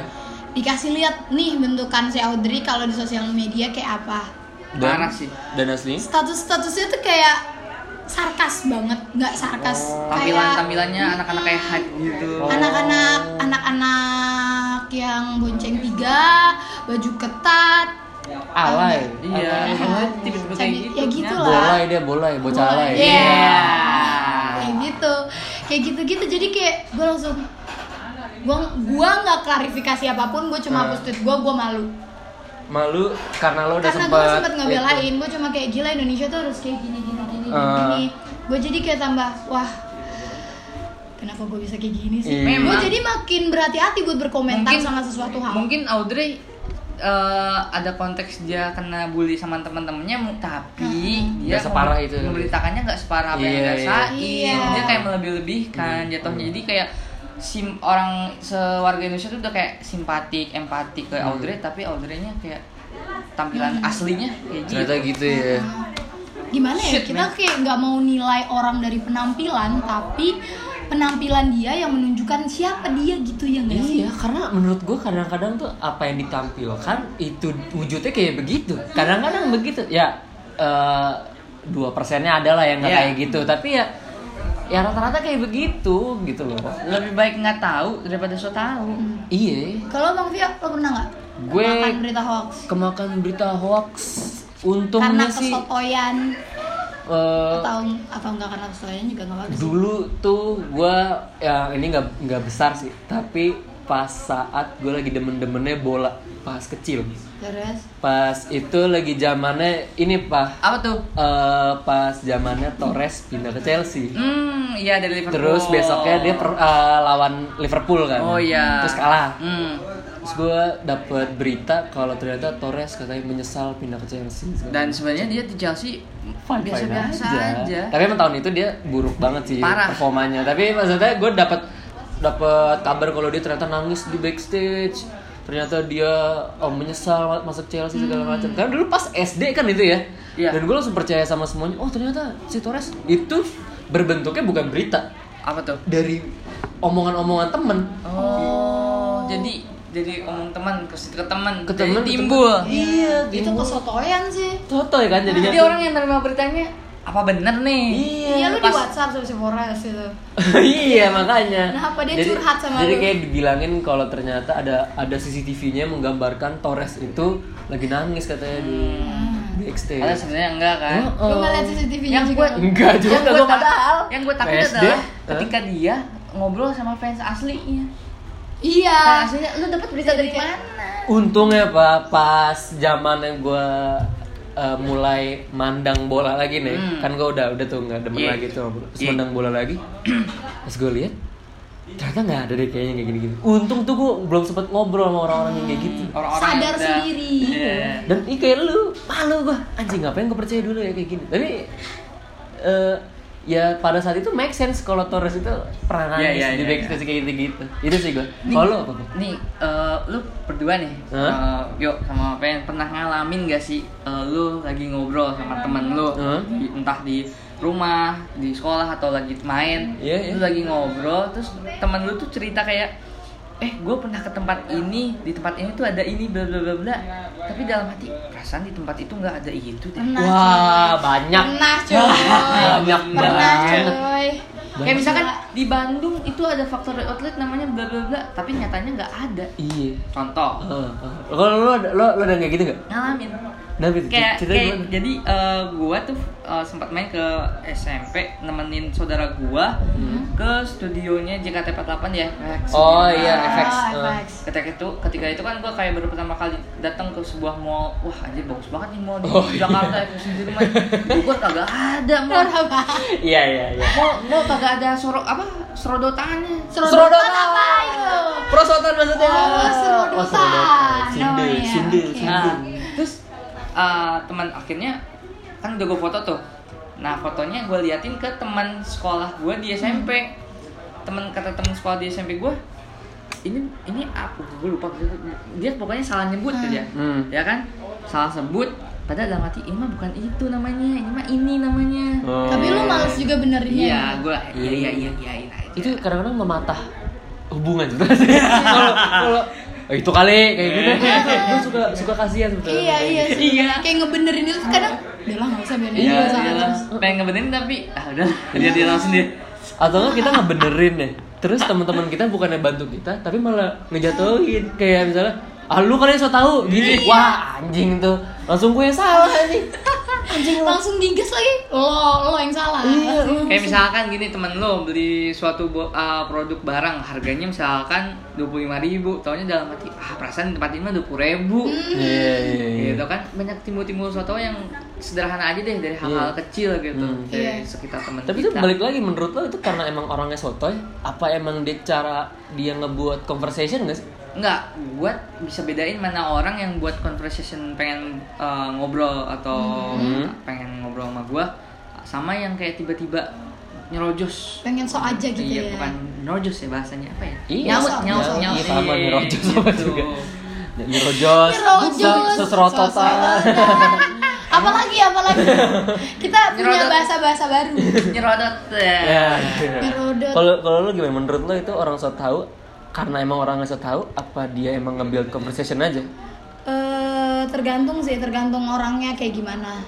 [SPEAKER 2] dikasih lihat nih bentukan si Audrey kalau di sosial media kayak apa
[SPEAKER 3] Parah sih.
[SPEAKER 1] Dan aslinya?
[SPEAKER 2] status-statusnya tuh kayak sarkas banget nggak sarkas Hmm,
[SPEAKER 3] Oh,
[SPEAKER 2] kayak
[SPEAKER 3] Tampilan-tampilannya anak-anak kayak hype gitu.
[SPEAKER 2] anak-anak anak-anak yang bonceng tiga baju ketat
[SPEAKER 1] Alay.
[SPEAKER 3] Iya, tiba-tiba kayak
[SPEAKER 2] Jadi-
[SPEAKER 3] gitu.
[SPEAKER 2] ya gitu lah.
[SPEAKER 1] Bolai dia, bolai, bocah alay.
[SPEAKER 2] Iya.
[SPEAKER 3] Iya.
[SPEAKER 2] kayak gitu kayak gitu gitu jadi kayak gue langsung gue gua nggak klarifikasi apapun gue
[SPEAKER 1] Hmm.
[SPEAKER 2] cuma hapus tweet gue gue malu
[SPEAKER 1] Malu karena lo udah
[SPEAKER 2] karena
[SPEAKER 1] sempat
[SPEAKER 2] gue sempet ngebelain gue cuma kayak gila Indonesia tuh harus kayak gini gini gini gini,
[SPEAKER 1] Ah.
[SPEAKER 2] gini. gue jadi kayak tambah wah kenapa gue bisa kayak gini sih
[SPEAKER 1] Iya.
[SPEAKER 2] gue jadi makin berhati-hati buat berkomentar
[SPEAKER 3] Mungkin-
[SPEAKER 2] sama sesuatu hal
[SPEAKER 3] Nah, Mungkin Audrey eh, ada konteks dia kena bully sama teman-temannya mu- tapi dia
[SPEAKER 1] Nggak separah itu.
[SPEAKER 3] memberitakannya nggak separah apa
[SPEAKER 1] Iya,
[SPEAKER 3] yang dia
[SPEAKER 1] iya.
[SPEAKER 3] rasain
[SPEAKER 2] Iya.
[SPEAKER 3] dia kayak melebih-lebihkan jatuhnya jadi kayak sim orang sewarga Indonesia tuh udah kayak simpatik empati ke Audrey tapi Audrey-nya kayak tampilan aslinya kayak gitu
[SPEAKER 1] Ternyata gitu ya.
[SPEAKER 2] gimana ya
[SPEAKER 3] Shit,
[SPEAKER 2] kita
[SPEAKER 3] man.
[SPEAKER 2] kayak nggak mau nilai orang dari penampilan tapi penampilan dia yang menunjukkan siapa dia gitu ya nggak sih
[SPEAKER 1] Iya, karena menurut gue kadang-kadang tuh apa yang ditampilkan itu wujudnya kayak begitu. Kadang-kadang begitu. Ya dua persennya ada lah yang nggak
[SPEAKER 3] Iya.
[SPEAKER 1] kayak gitu, tapi ya ya rata-rata kayak begitu gitu loh.
[SPEAKER 3] lebih baik nggak tahu daripada so tahu
[SPEAKER 1] Iya,
[SPEAKER 2] Hmm. kalau bang Via lo pernah nggak
[SPEAKER 1] Gue-
[SPEAKER 2] makan berita hoax
[SPEAKER 1] kemakan berita hoax untungnya
[SPEAKER 2] karena
[SPEAKER 1] sih
[SPEAKER 2] kesotoyan
[SPEAKER 1] eh,
[SPEAKER 2] atau atau nggak karena kesotoyan juga nggak bagus
[SPEAKER 1] dulu tuh gua ya ini nggak nggak besar sih tapi pas saat gue lagi demen-demennya bola pas kecil
[SPEAKER 2] terus
[SPEAKER 1] pas itu lagi zamannya ini pak
[SPEAKER 3] apa tuh
[SPEAKER 1] eh, pas zamannya Torres pindah ke Chelsea
[SPEAKER 3] hmm iya dari Liverpool
[SPEAKER 1] terus besoknya dia per- eh, lawan Liverpool kan
[SPEAKER 3] oh iya
[SPEAKER 1] terus kalah
[SPEAKER 3] Hmm.
[SPEAKER 1] terus gue dapet berita kalau ternyata Torres katanya menyesal pindah ke Chelsea
[SPEAKER 3] dan sebenarnya dia di Chelsea
[SPEAKER 1] Fine, fine
[SPEAKER 3] biasa-biasa aja.
[SPEAKER 1] Tapi emang tahun itu dia buruk banget sih
[SPEAKER 3] Parah.
[SPEAKER 1] performanya. Tapi maksudnya gue dapat dapat kabar kalau dia ternyata nangis di backstage. Ternyata dia oh, menyesal ma- masuk Chelsea segala macam. Karena dulu pas SD kan itu ya.
[SPEAKER 3] Hmm. Iya.
[SPEAKER 1] Dan gue langsung percaya sama semuanya. Oh ternyata si Torres itu berbentuknya bukan berita
[SPEAKER 3] Apa tuh?
[SPEAKER 1] dari omongan-omongan temen.
[SPEAKER 3] Oh, jadi jadi omong teman ke ke teman,
[SPEAKER 1] Ke
[SPEAKER 3] jadi
[SPEAKER 1] temen, ke
[SPEAKER 3] timbul.
[SPEAKER 1] temen. Iya,
[SPEAKER 2] itu
[SPEAKER 1] timbul.
[SPEAKER 2] kesotoyan sih
[SPEAKER 1] Sotoy kan jadinya.
[SPEAKER 3] Jadi Nah, orang yang nerima beritanya apa bener nih?
[SPEAKER 1] Iya.
[SPEAKER 2] Iya lu di
[SPEAKER 3] pas-
[SPEAKER 2] WhatsApp sama si Forest itu.
[SPEAKER 1] iya makanya.
[SPEAKER 2] Kenapa dia curhat sama
[SPEAKER 1] Jadi
[SPEAKER 2] lu?
[SPEAKER 1] kayak dibilangin kalau ternyata ada ada CCTV-nya menggambarkan Torres itu lagi nangis katanya di backstage.
[SPEAKER 3] Padahal sebenarnya enggak kan?
[SPEAKER 2] Gue Hmm. nggak liat CCTV-nya
[SPEAKER 3] Yang
[SPEAKER 2] juga.
[SPEAKER 3] gue-
[SPEAKER 1] Oh. Enggak juga
[SPEAKER 3] gue
[SPEAKER 1] gue
[SPEAKER 3] tak-
[SPEAKER 1] padahal.
[SPEAKER 3] yang gue takut
[SPEAKER 1] PSD, eh?
[SPEAKER 3] adalah ketika dia ngobrol sama fans aslinya.
[SPEAKER 2] Iya.
[SPEAKER 3] Fans aslinya lu dapat berita dari
[SPEAKER 2] Kayak-
[SPEAKER 3] mana?
[SPEAKER 1] Untungnya pak pas zaman yang gue eh, mulai mandang bola lagi nih
[SPEAKER 3] Hmm.
[SPEAKER 1] kan gue udah udah tuh nggak demen
[SPEAKER 3] Iya.
[SPEAKER 1] lagi tuh terus
[SPEAKER 3] Iya.
[SPEAKER 1] mandang bola lagi terus gue lihat ternyata nggak ada deh kayaknya kayak gini-gini untung tuh gue belum sempet ngobrol sama orang-orang yang kayak gitu
[SPEAKER 3] Orang-orang yang
[SPEAKER 2] Sadar
[SPEAKER 3] udah-
[SPEAKER 2] sendiri.
[SPEAKER 3] Iya.
[SPEAKER 1] dan ini kayak lu malu gua anjing ngapain gue percaya dulu ya kayak gini tapi eh, ya pada saat itu make sense kalau Torres itu pernah
[SPEAKER 3] Iya,
[SPEAKER 1] nangis
[SPEAKER 3] iya,
[SPEAKER 1] di
[SPEAKER 3] iya,
[SPEAKER 1] backstage kayak gitu gitu itu sih gua
[SPEAKER 3] Nih,
[SPEAKER 1] kalau lu apa Bang?
[SPEAKER 3] Nih, eh, lu berdua nih,
[SPEAKER 1] Hah?
[SPEAKER 3] eh, yuk sama pengen pernah ngalamin gak sih eh, lu lagi ngobrol sama temen lu,
[SPEAKER 1] Hah?
[SPEAKER 3] di- entah di rumah, di sekolah atau lagi main,
[SPEAKER 1] Iya, iya.
[SPEAKER 3] lu lagi ngobrol, terus temen lu tuh cerita kayak, eh gue pernah ke tempat ini, di tempat ini tuh ada ini, bla bla bla bla, tapi dalam hati perasaan di tempat itu nggak ada itu deh.
[SPEAKER 2] Pernah,
[SPEAKER 1] wah
[SPEAKER 2] coy.
[SPEAKER 1] banyak
[SPEAKER 2] Pernah, coy.
[SPEAKER 1] banyak
[SPEAKER 2] Pernah
[SPEAKER 1] banget
[SPEAKER 2] coy.
[SPEAKER 3] Kayak misalkan di Bandung itu ada factory outlet namanya bla bla bla, tapi nyatanya nggak ada.
[SPEAKER 1] iya
[SPEAKER 3] Contoh,
[SPEAKER 1] Heeh, heeh. kalau lu ada lo lo ada kayak gitu nggak
[SPEAKER 3] ngalamin.
[SPEAKER 1] Nah, gitu.
[SPEAKER 3] kayak
[SPEAKER 1] cerita
[SPEAKER 3] kayak
[SPEAKER 1] gimana?
[SPEAKER 3] jadi eh, gua tuh eh, sempat main ke SMP nemenin saudara gua ke studionya JKT48 ya Rex.
[SPEAKER 1] Hmm. Oh iya, FX.
[SPEAKER 2] Oh,
[SPEAKER 1] eh.
[SPEAKER 2] FX.
[SPEAKER 3] ketika itu ketika itu kan gua kayak baru pertama kali datang ke sebuah mall wah anjir bagus banget nih mall di
[SPEAKER 1] Oh, iya.
[SPEAKER 3] Jakarta FX di rumah Di Bogor kagak ada mall
[SPEAKER 1] Iya, iya, iya.
[SPEAKER 3] mall mall kagak ada sorok apa serodotannya
[SPEAKER 2] Serodotan apa itu?
[SPEAKER 1] Prosotan maksudnya.
[SPEAKER 2] Oh, serodotan.
[SPEAKER 1] Oh, serodotan. Sindel,
[SPEAKER 2] Namanya.
[SPEAKER 1] sindel,
[SPEAKER 2] Oke.
[SPEAKER 1] sindel.
[SPEAKER 3] Nah, terus eh, teman akhirnya kan udah gue foto tuh. Nah fotonya gue liatin ke teman sekolah gue di SMP. Teman kata teman sekolah di SMP gue ini ini apa gue lupa dia pokoknya salah nyebut tuh dia
[SPEAKER 1] Hmm.
[SPEAKER 3] ya kan salah sebut padahal dalam hati ini mah bukan itu namanya ini mah ini namanya
[SPEAKER 1] Oh.
[SPEAKER 2] Tapi lu males juga benerinnya.
[SPEAKER 3] iya gue iya iya iya iyain aja
[SPEAKER 1] itu kadang-kadang mematah hubungan sebenarnya. Kalau kalau "Eh, itu kali kayak gitu. Gue suka suka kasihan sebetulnya. gitu.
[SPEAKER 2] Iya, iya sih.
[SPEAKER 3] Iya.
[SPEAKER 2] Kayak ngebenerin itu kadang udah lah nggak usah benerin.
[SPEAKER 3] iya
[SPEAKER 2] nggak usah
[SPEAKER 3] iya
[SPEAKER 2] terus.
[SPEAKER 3] pengen ngebenerin tapi ah udah dia dia langsung deh
[SPEAKER 1] Atau enggak kita ngebenerin ya. Terus teman-teman kita bukannya bantu kita, tapi malah ngejatuhin kayak misalnya Ah lu kalian so tau gitu. Wah, anjing tuh. Langsung gue yang salah anjing.
[SPEAKER 2] Langsung digas lagi. Lo lo yang salah.
[SPEAKER 1] Iya, lu.
[SPEAKER 3] Kayak misalkan gini temen lo beli suatu bo- uh, produk barang harganya misalkan 25.000 ribu Taunya dalam hati, ah perasaan di tempat ini mah 20.000 ribu
[SPEAKER 1] Iya, iya, iya.
[SPEAKER 3] Gitu kan, banyak timbul-timbul soto yang sederhana aja deh dari hal-hal kecil gitu
[SPEAKER 1] Hmm.
[SPEAKER 3] Dari
[SPEAKER 2] Iya.
[SPEAKER 3] sekitar temen
[SPEAKER 1] Tapi itu
[SPEAKER 3] kita
[SPEAKER 1] balik lagi menurut lo itu karena emang orangnya sotoy apa emang dia cara dia ngebuat conversation gak sih?
[SPEAKER 3] Enggak, gue bisa bedain mana orang yang buat conversation pengen uh, ngobrol atau
[SPEAKER 1] Hmm.
[SPEAKER 3] pengen ngobrol sama gue Sama yang kayak tiba-tiba nyerojos
[SPEAKER 2] Pengen so aja gitu
[SPEAKER 3] iya,
[SPEAKER 2] ya.
[SPEAKER 3] bukan nerojos ya bahasanya apa ya?
[SPEAKER 1] Iya,
[SPEAKER 3] nyaut,
[SPEAKER 2] sok,
[SPEAKER 3] nyaut,
[SPEAKER 2] sok.
[SPEAKER 3] nyaut.
[SPEAKER 1] Iya, sama
[SPEAKER 3] Iya,
[SPEAKER 1] nyerojos
[SPEAKER 3] gitu.
[SPEAKER 1] sama juga. Nyerojos,
[SPEAKER 2] Iya, Nyerojos,
[SPEAKER 1] seserototan.
[SPEAKER 2] apalagi apalagi kita punya
[SPEAKER 3] Nyerodot.
[SPEAKER 2] bahasa-bahasa baru.
[SPEAKER 3] Iya. Nyerodot. ya.
[SPEAKER 1] Ya.
[SPEAKER 2] Nyerojos.
[SPEAKER 1] Kalau kalau lo gimana menurut lo itu orang so tahu karena emang orang so tahu apa dia emang ngambil conversation aja?
[SPEAKER 2] eh tergantung sih, tergantung orangnya kayak gimana.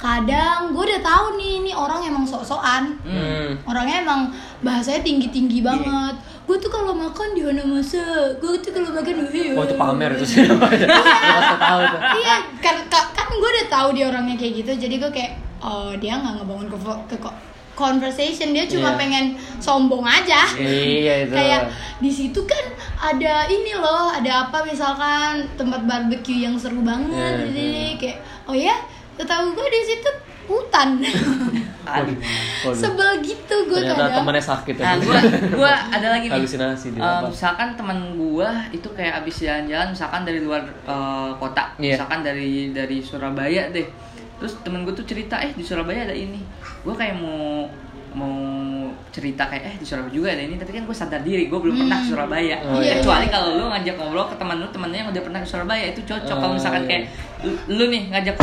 [SPEAKER 2] Kadang gue udah tahu nih, ini orang emang sok-sokan.
[SPEAKER 1] Hmm. Iya.
[SPEAKER 2] Orangnya emang bahasanya tinggi-tinggi banget. Gue tuh kalau makan di mana masa, gue tuh kalau makan di
[SPEAKER 1] Oh itu pamer itu sih. Orang so tahu tuh.
[SPEAKER 2] iya kan ka- kan gue udah tahu dia orangnya kayak gitu jadi gue kayak oh dia nggak ngebangun ke, ke ko- conversation dia cuma
[SPEAKER 1] Iya.
[SPEAKER 2] pengen sombong aja
[SPEAKER 1] Iya itu.
[SPEAKER 2] kayak di situ kan ada ini loh ada apa misalkan tempat barbecue yang seru banget
[SPEAKER 1] Iya,
[SPEAKER 2] di sini kayak oh ya setahu gue di situ hutan
[SPEAKER 1] Waduh, waduh.
[SPEAKER 2] sebel gitu gue
[SPEAKER 1] Ternyata
[SPEAKER 2] kadang
[SPEAKER 1] temannya sakit ya.
[SPEAKER 3] Nah, gua gua ada lagi nih.
[SPEAKER 1] Halusinasi dia,
[SPEAKER 3] Eh,
[SPEAKER 1] apa?
[SPEAKER 3] misalkan teman gua itu kayak abis jalan-jalan misalkan dari luar eh, kota,
[SPEAKER 1] Iya.
[SPEAKER 3] misalkan dari dari Surabaya deh. Terus temen gua tuh cerita, "Eh, di Surabaya ada ini." Gua kayak mau mau cerita kayak eh di Surabaya juga ada ini tapi kan gue sadar diri gue belum pernah ke Surabaya
[SPEAKER 1] Oh,
[SPEAKER 2] iya.
[SPEAKER 3] kecuali kalau lu ngajak ngobrol ke teman lu temennya yang udah pernah ke Surabaya itu cocok kalau
[SPEAKER 1] Oh,
[SPEAKER 3] misalkan
[SPEAKER 1] iya.
[SPEAKER 3] kayak lu- lu nih ngajak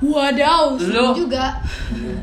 [SPEAKER 2] wadaw seru
[SPEAKER 3] Lu.
[SPEAKER 2] juga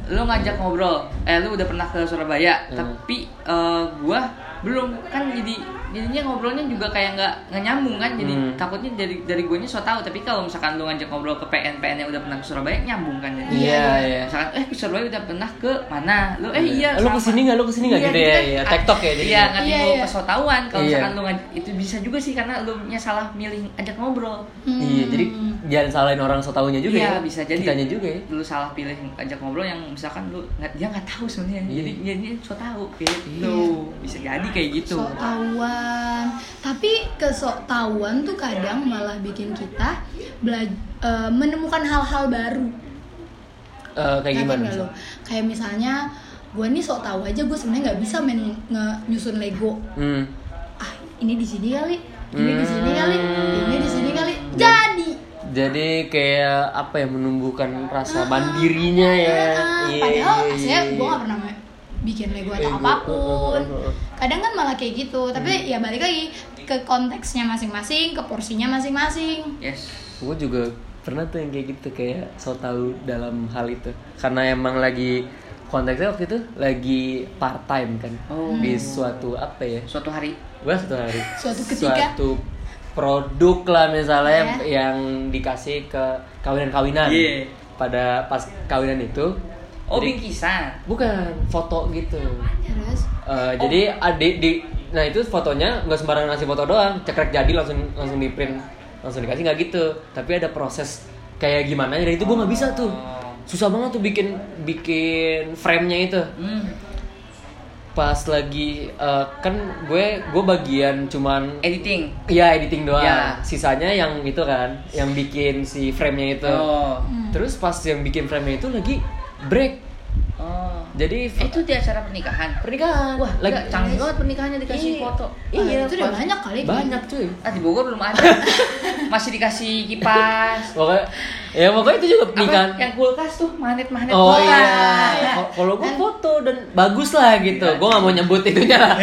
[SPEAKER 3] lu ngajak ngobrol eh lu udah pernah ke Surabaya
[SPEAKER 1] Hmm.
[SPEAKER 3] tapi eh, gua belum kan jadi jadinya ngobrolnya juga kayak nggak nggak nyambung kan jadi
[SPEAKER 1] Hmm.
[SPEAKER 3] takutnya dari dari gue so tau tapi kalau misalkan lu ngajak ngobrol ke PN PN yang udah pernah ke Surabaya nyambung kan jadi
[SPEAKER 1] Iya iya.
[SPEAKER 3] misalkan eh ke Surabaya udah pernah ke mana lu eh iya
[SPEAKER 1] Eh, Lu
[SPEAKER 3] sama.
[SPEAKER 1] kesini nggak? Lu kesini nggak?
[SPEAKER 3] Iya,
[SPEAKER 1] Gitu
[SPEAKER 3] jadi
[SPEAKER 1] ya.
[SPEAKER 3] kan-
[SPEAKER 1] Iya. Tiktok ya. jadi.
[SPEAKER 3] iya nggak
[SPEAKER 2] Iya,
[SPEAKER 3] timbul
[SPEAKER 2] iya.
[SPEAKER 3] kesotauan kalau
[SPEAKER 1] Iya.
[SPEAKER 3] misalkan lu ngajak itu bisa juga sih karena lu nya salah milih ajak ngobrol
[SPEAKER 2] Hmm,
[SPEAKER 1] Iya, jadi jangan salahin orang so taunya juga
[SPEAKER 3] Iya,
[SPEAKER 1] ya.
[SPEAKER 3] bisa jadi.
[SPEAKER 1] Kitanya juga ya.
[SPEAKER 3] lu salah pilih ajak ngobrol yang misalkan lu nggak dia nggak tahu sebenarnya
[SPEAKER 1] Iya.
[SPEAKER 3] jadi jadi dia so tahu gitu bisa jadi kayak gitu
[SPEAKER 2] sok tauan tapi kesok tauan tuh kadang malah bikin kita bela- eh, menemukan hal-hal baru
[SPEAKER 1] Eh, kayak
[SPEAKER 2] Ngerti
[SPEAKER 1] gimana?
[SPEAKER 2] nggak lo?
[SPEAKER 1] misalnya?
[SPEAKER 2] kayak misalnya gue nih sok tahu aja gue sebenarnya nggak bisa main nge- nyusun Lego
[SPEAKER 1] Hmm.
[SPEAKER 2] ah ini di sini kali ini di sini
[SPEAKER 1] Hmm.
[SPEAKER 2] kali ini di sini kali jadi
[SPEAKER 1] Jadi kayak apa ya menumbuhkan rasa mandirinya ya.
[SPEAKER 2] Ah,
[SPEAKER 1] Iya,
[SPEAKER 2] padahal
[SPEAKER 1] iya,
[SPEAKER 2] aslinya
[SPEAKER 1] iya.
[SPEAKER 2] gue gak pernah ma- bikin Lego atau
[SPEAKER 1] Lego,
[SPEAKER 2] apapun
[SPEAKER 1] uh, uh, uh, uh.
[SPEAKER 2] kadang kan malah kayak gitu tapi ya balik lagi ke konteksnya masing-masing ke porsinya masing-masing
[SPEAKER 3] yes
[SPEAKER 1] gue juga pernah tuh yang kayak gitu kayak so tau dalam hal itu karena emang lagi konteksnya waktu itu lagi part time kan
[SPEAKER 3] Oh.
[SPEAKER 1] di suatu apa ya
[SPEAKER 3] suatu hari
[SPEAKER 1] gue suatu hari
[SPEAKER 2] Suatu ketika.
[SPEAKER 1] suatu produk lah misalnya
[SPEAKER 2] Ya.
[SPEAKER 1] yang dikasih ke kawinan-kawinan
[SPEAKER 3] Iya.
[SPEAKER 1] pada pas kawinan itu
[SPEAKER 3] oh
[SPEAKER 1] jadi-
[SPEAKER 3] bingkisan
[SPEAKER 1] bukan foto gitu
[SPEAKER 2] terus
[SPEAKER 1] Eh, jadi adik di nah itu fotonya nggak sembarangan ngasih foto doang cekrek jadi langsung langsung di print langsung dikasih nggak gitu tapi ada proses kayak gimana dari itu gue nggak bisa
[SPEAKER 3] Oh.
[SPEAKER 1] tuh susah banget tuh bikin bikin frame-nya itu
[SPEAKER 3] hmm.
[SPEAKER 1] pas lagi eh, kan gue gue bagian cuman
[SPEAKER 3] editing
[SPEAKER 1] ya editing doang
[SPEAKER 3] Ya.
[SPEAKER 1] sisanya yang itu kan yang bikin si frame-nya itu
[SPEAKER 3] oh
[SPEAKER 2] Hmm.
[SPEAKER 1] terus pas yang bikin frame-nya itu lagi break
[SPEAKER 3] oh
[SPEAKER 1] jadi
[SPEAKER 3] Eh, itu di acara pernikahan
[SPEAKER 1] pernikahan wah
[SPEAKER 3] lagi canggih banget pernikahannya dikasih foto
[SPEAKER 2] Iya, itu udah
[SPEAKER 1] Pak.
[SPEAKER 2] banyak kali kayak
[SPEAKER 1] Banyak cuy.
[SPEAKER 3] ah di Bogor belum ada masih dikasih kipas
[SPEAKER 1] Pokoknya ya pokoknya itu juga
[SPEAKER 3] apa
[SPEAKER 1] pernikahan.
[SPEAKER 3] yang kulkas tuh magnet magnet
[SPEAKER 1] Oh
[SPEAKER 3] kulkas.
[SPEAKER 1] iya. Ko- Kalau gue foto dan bagus lah gitu.
[SPEAKER 3] Iya.
[SPEAKER 1] Gue nggak mau nyebut itunya lah.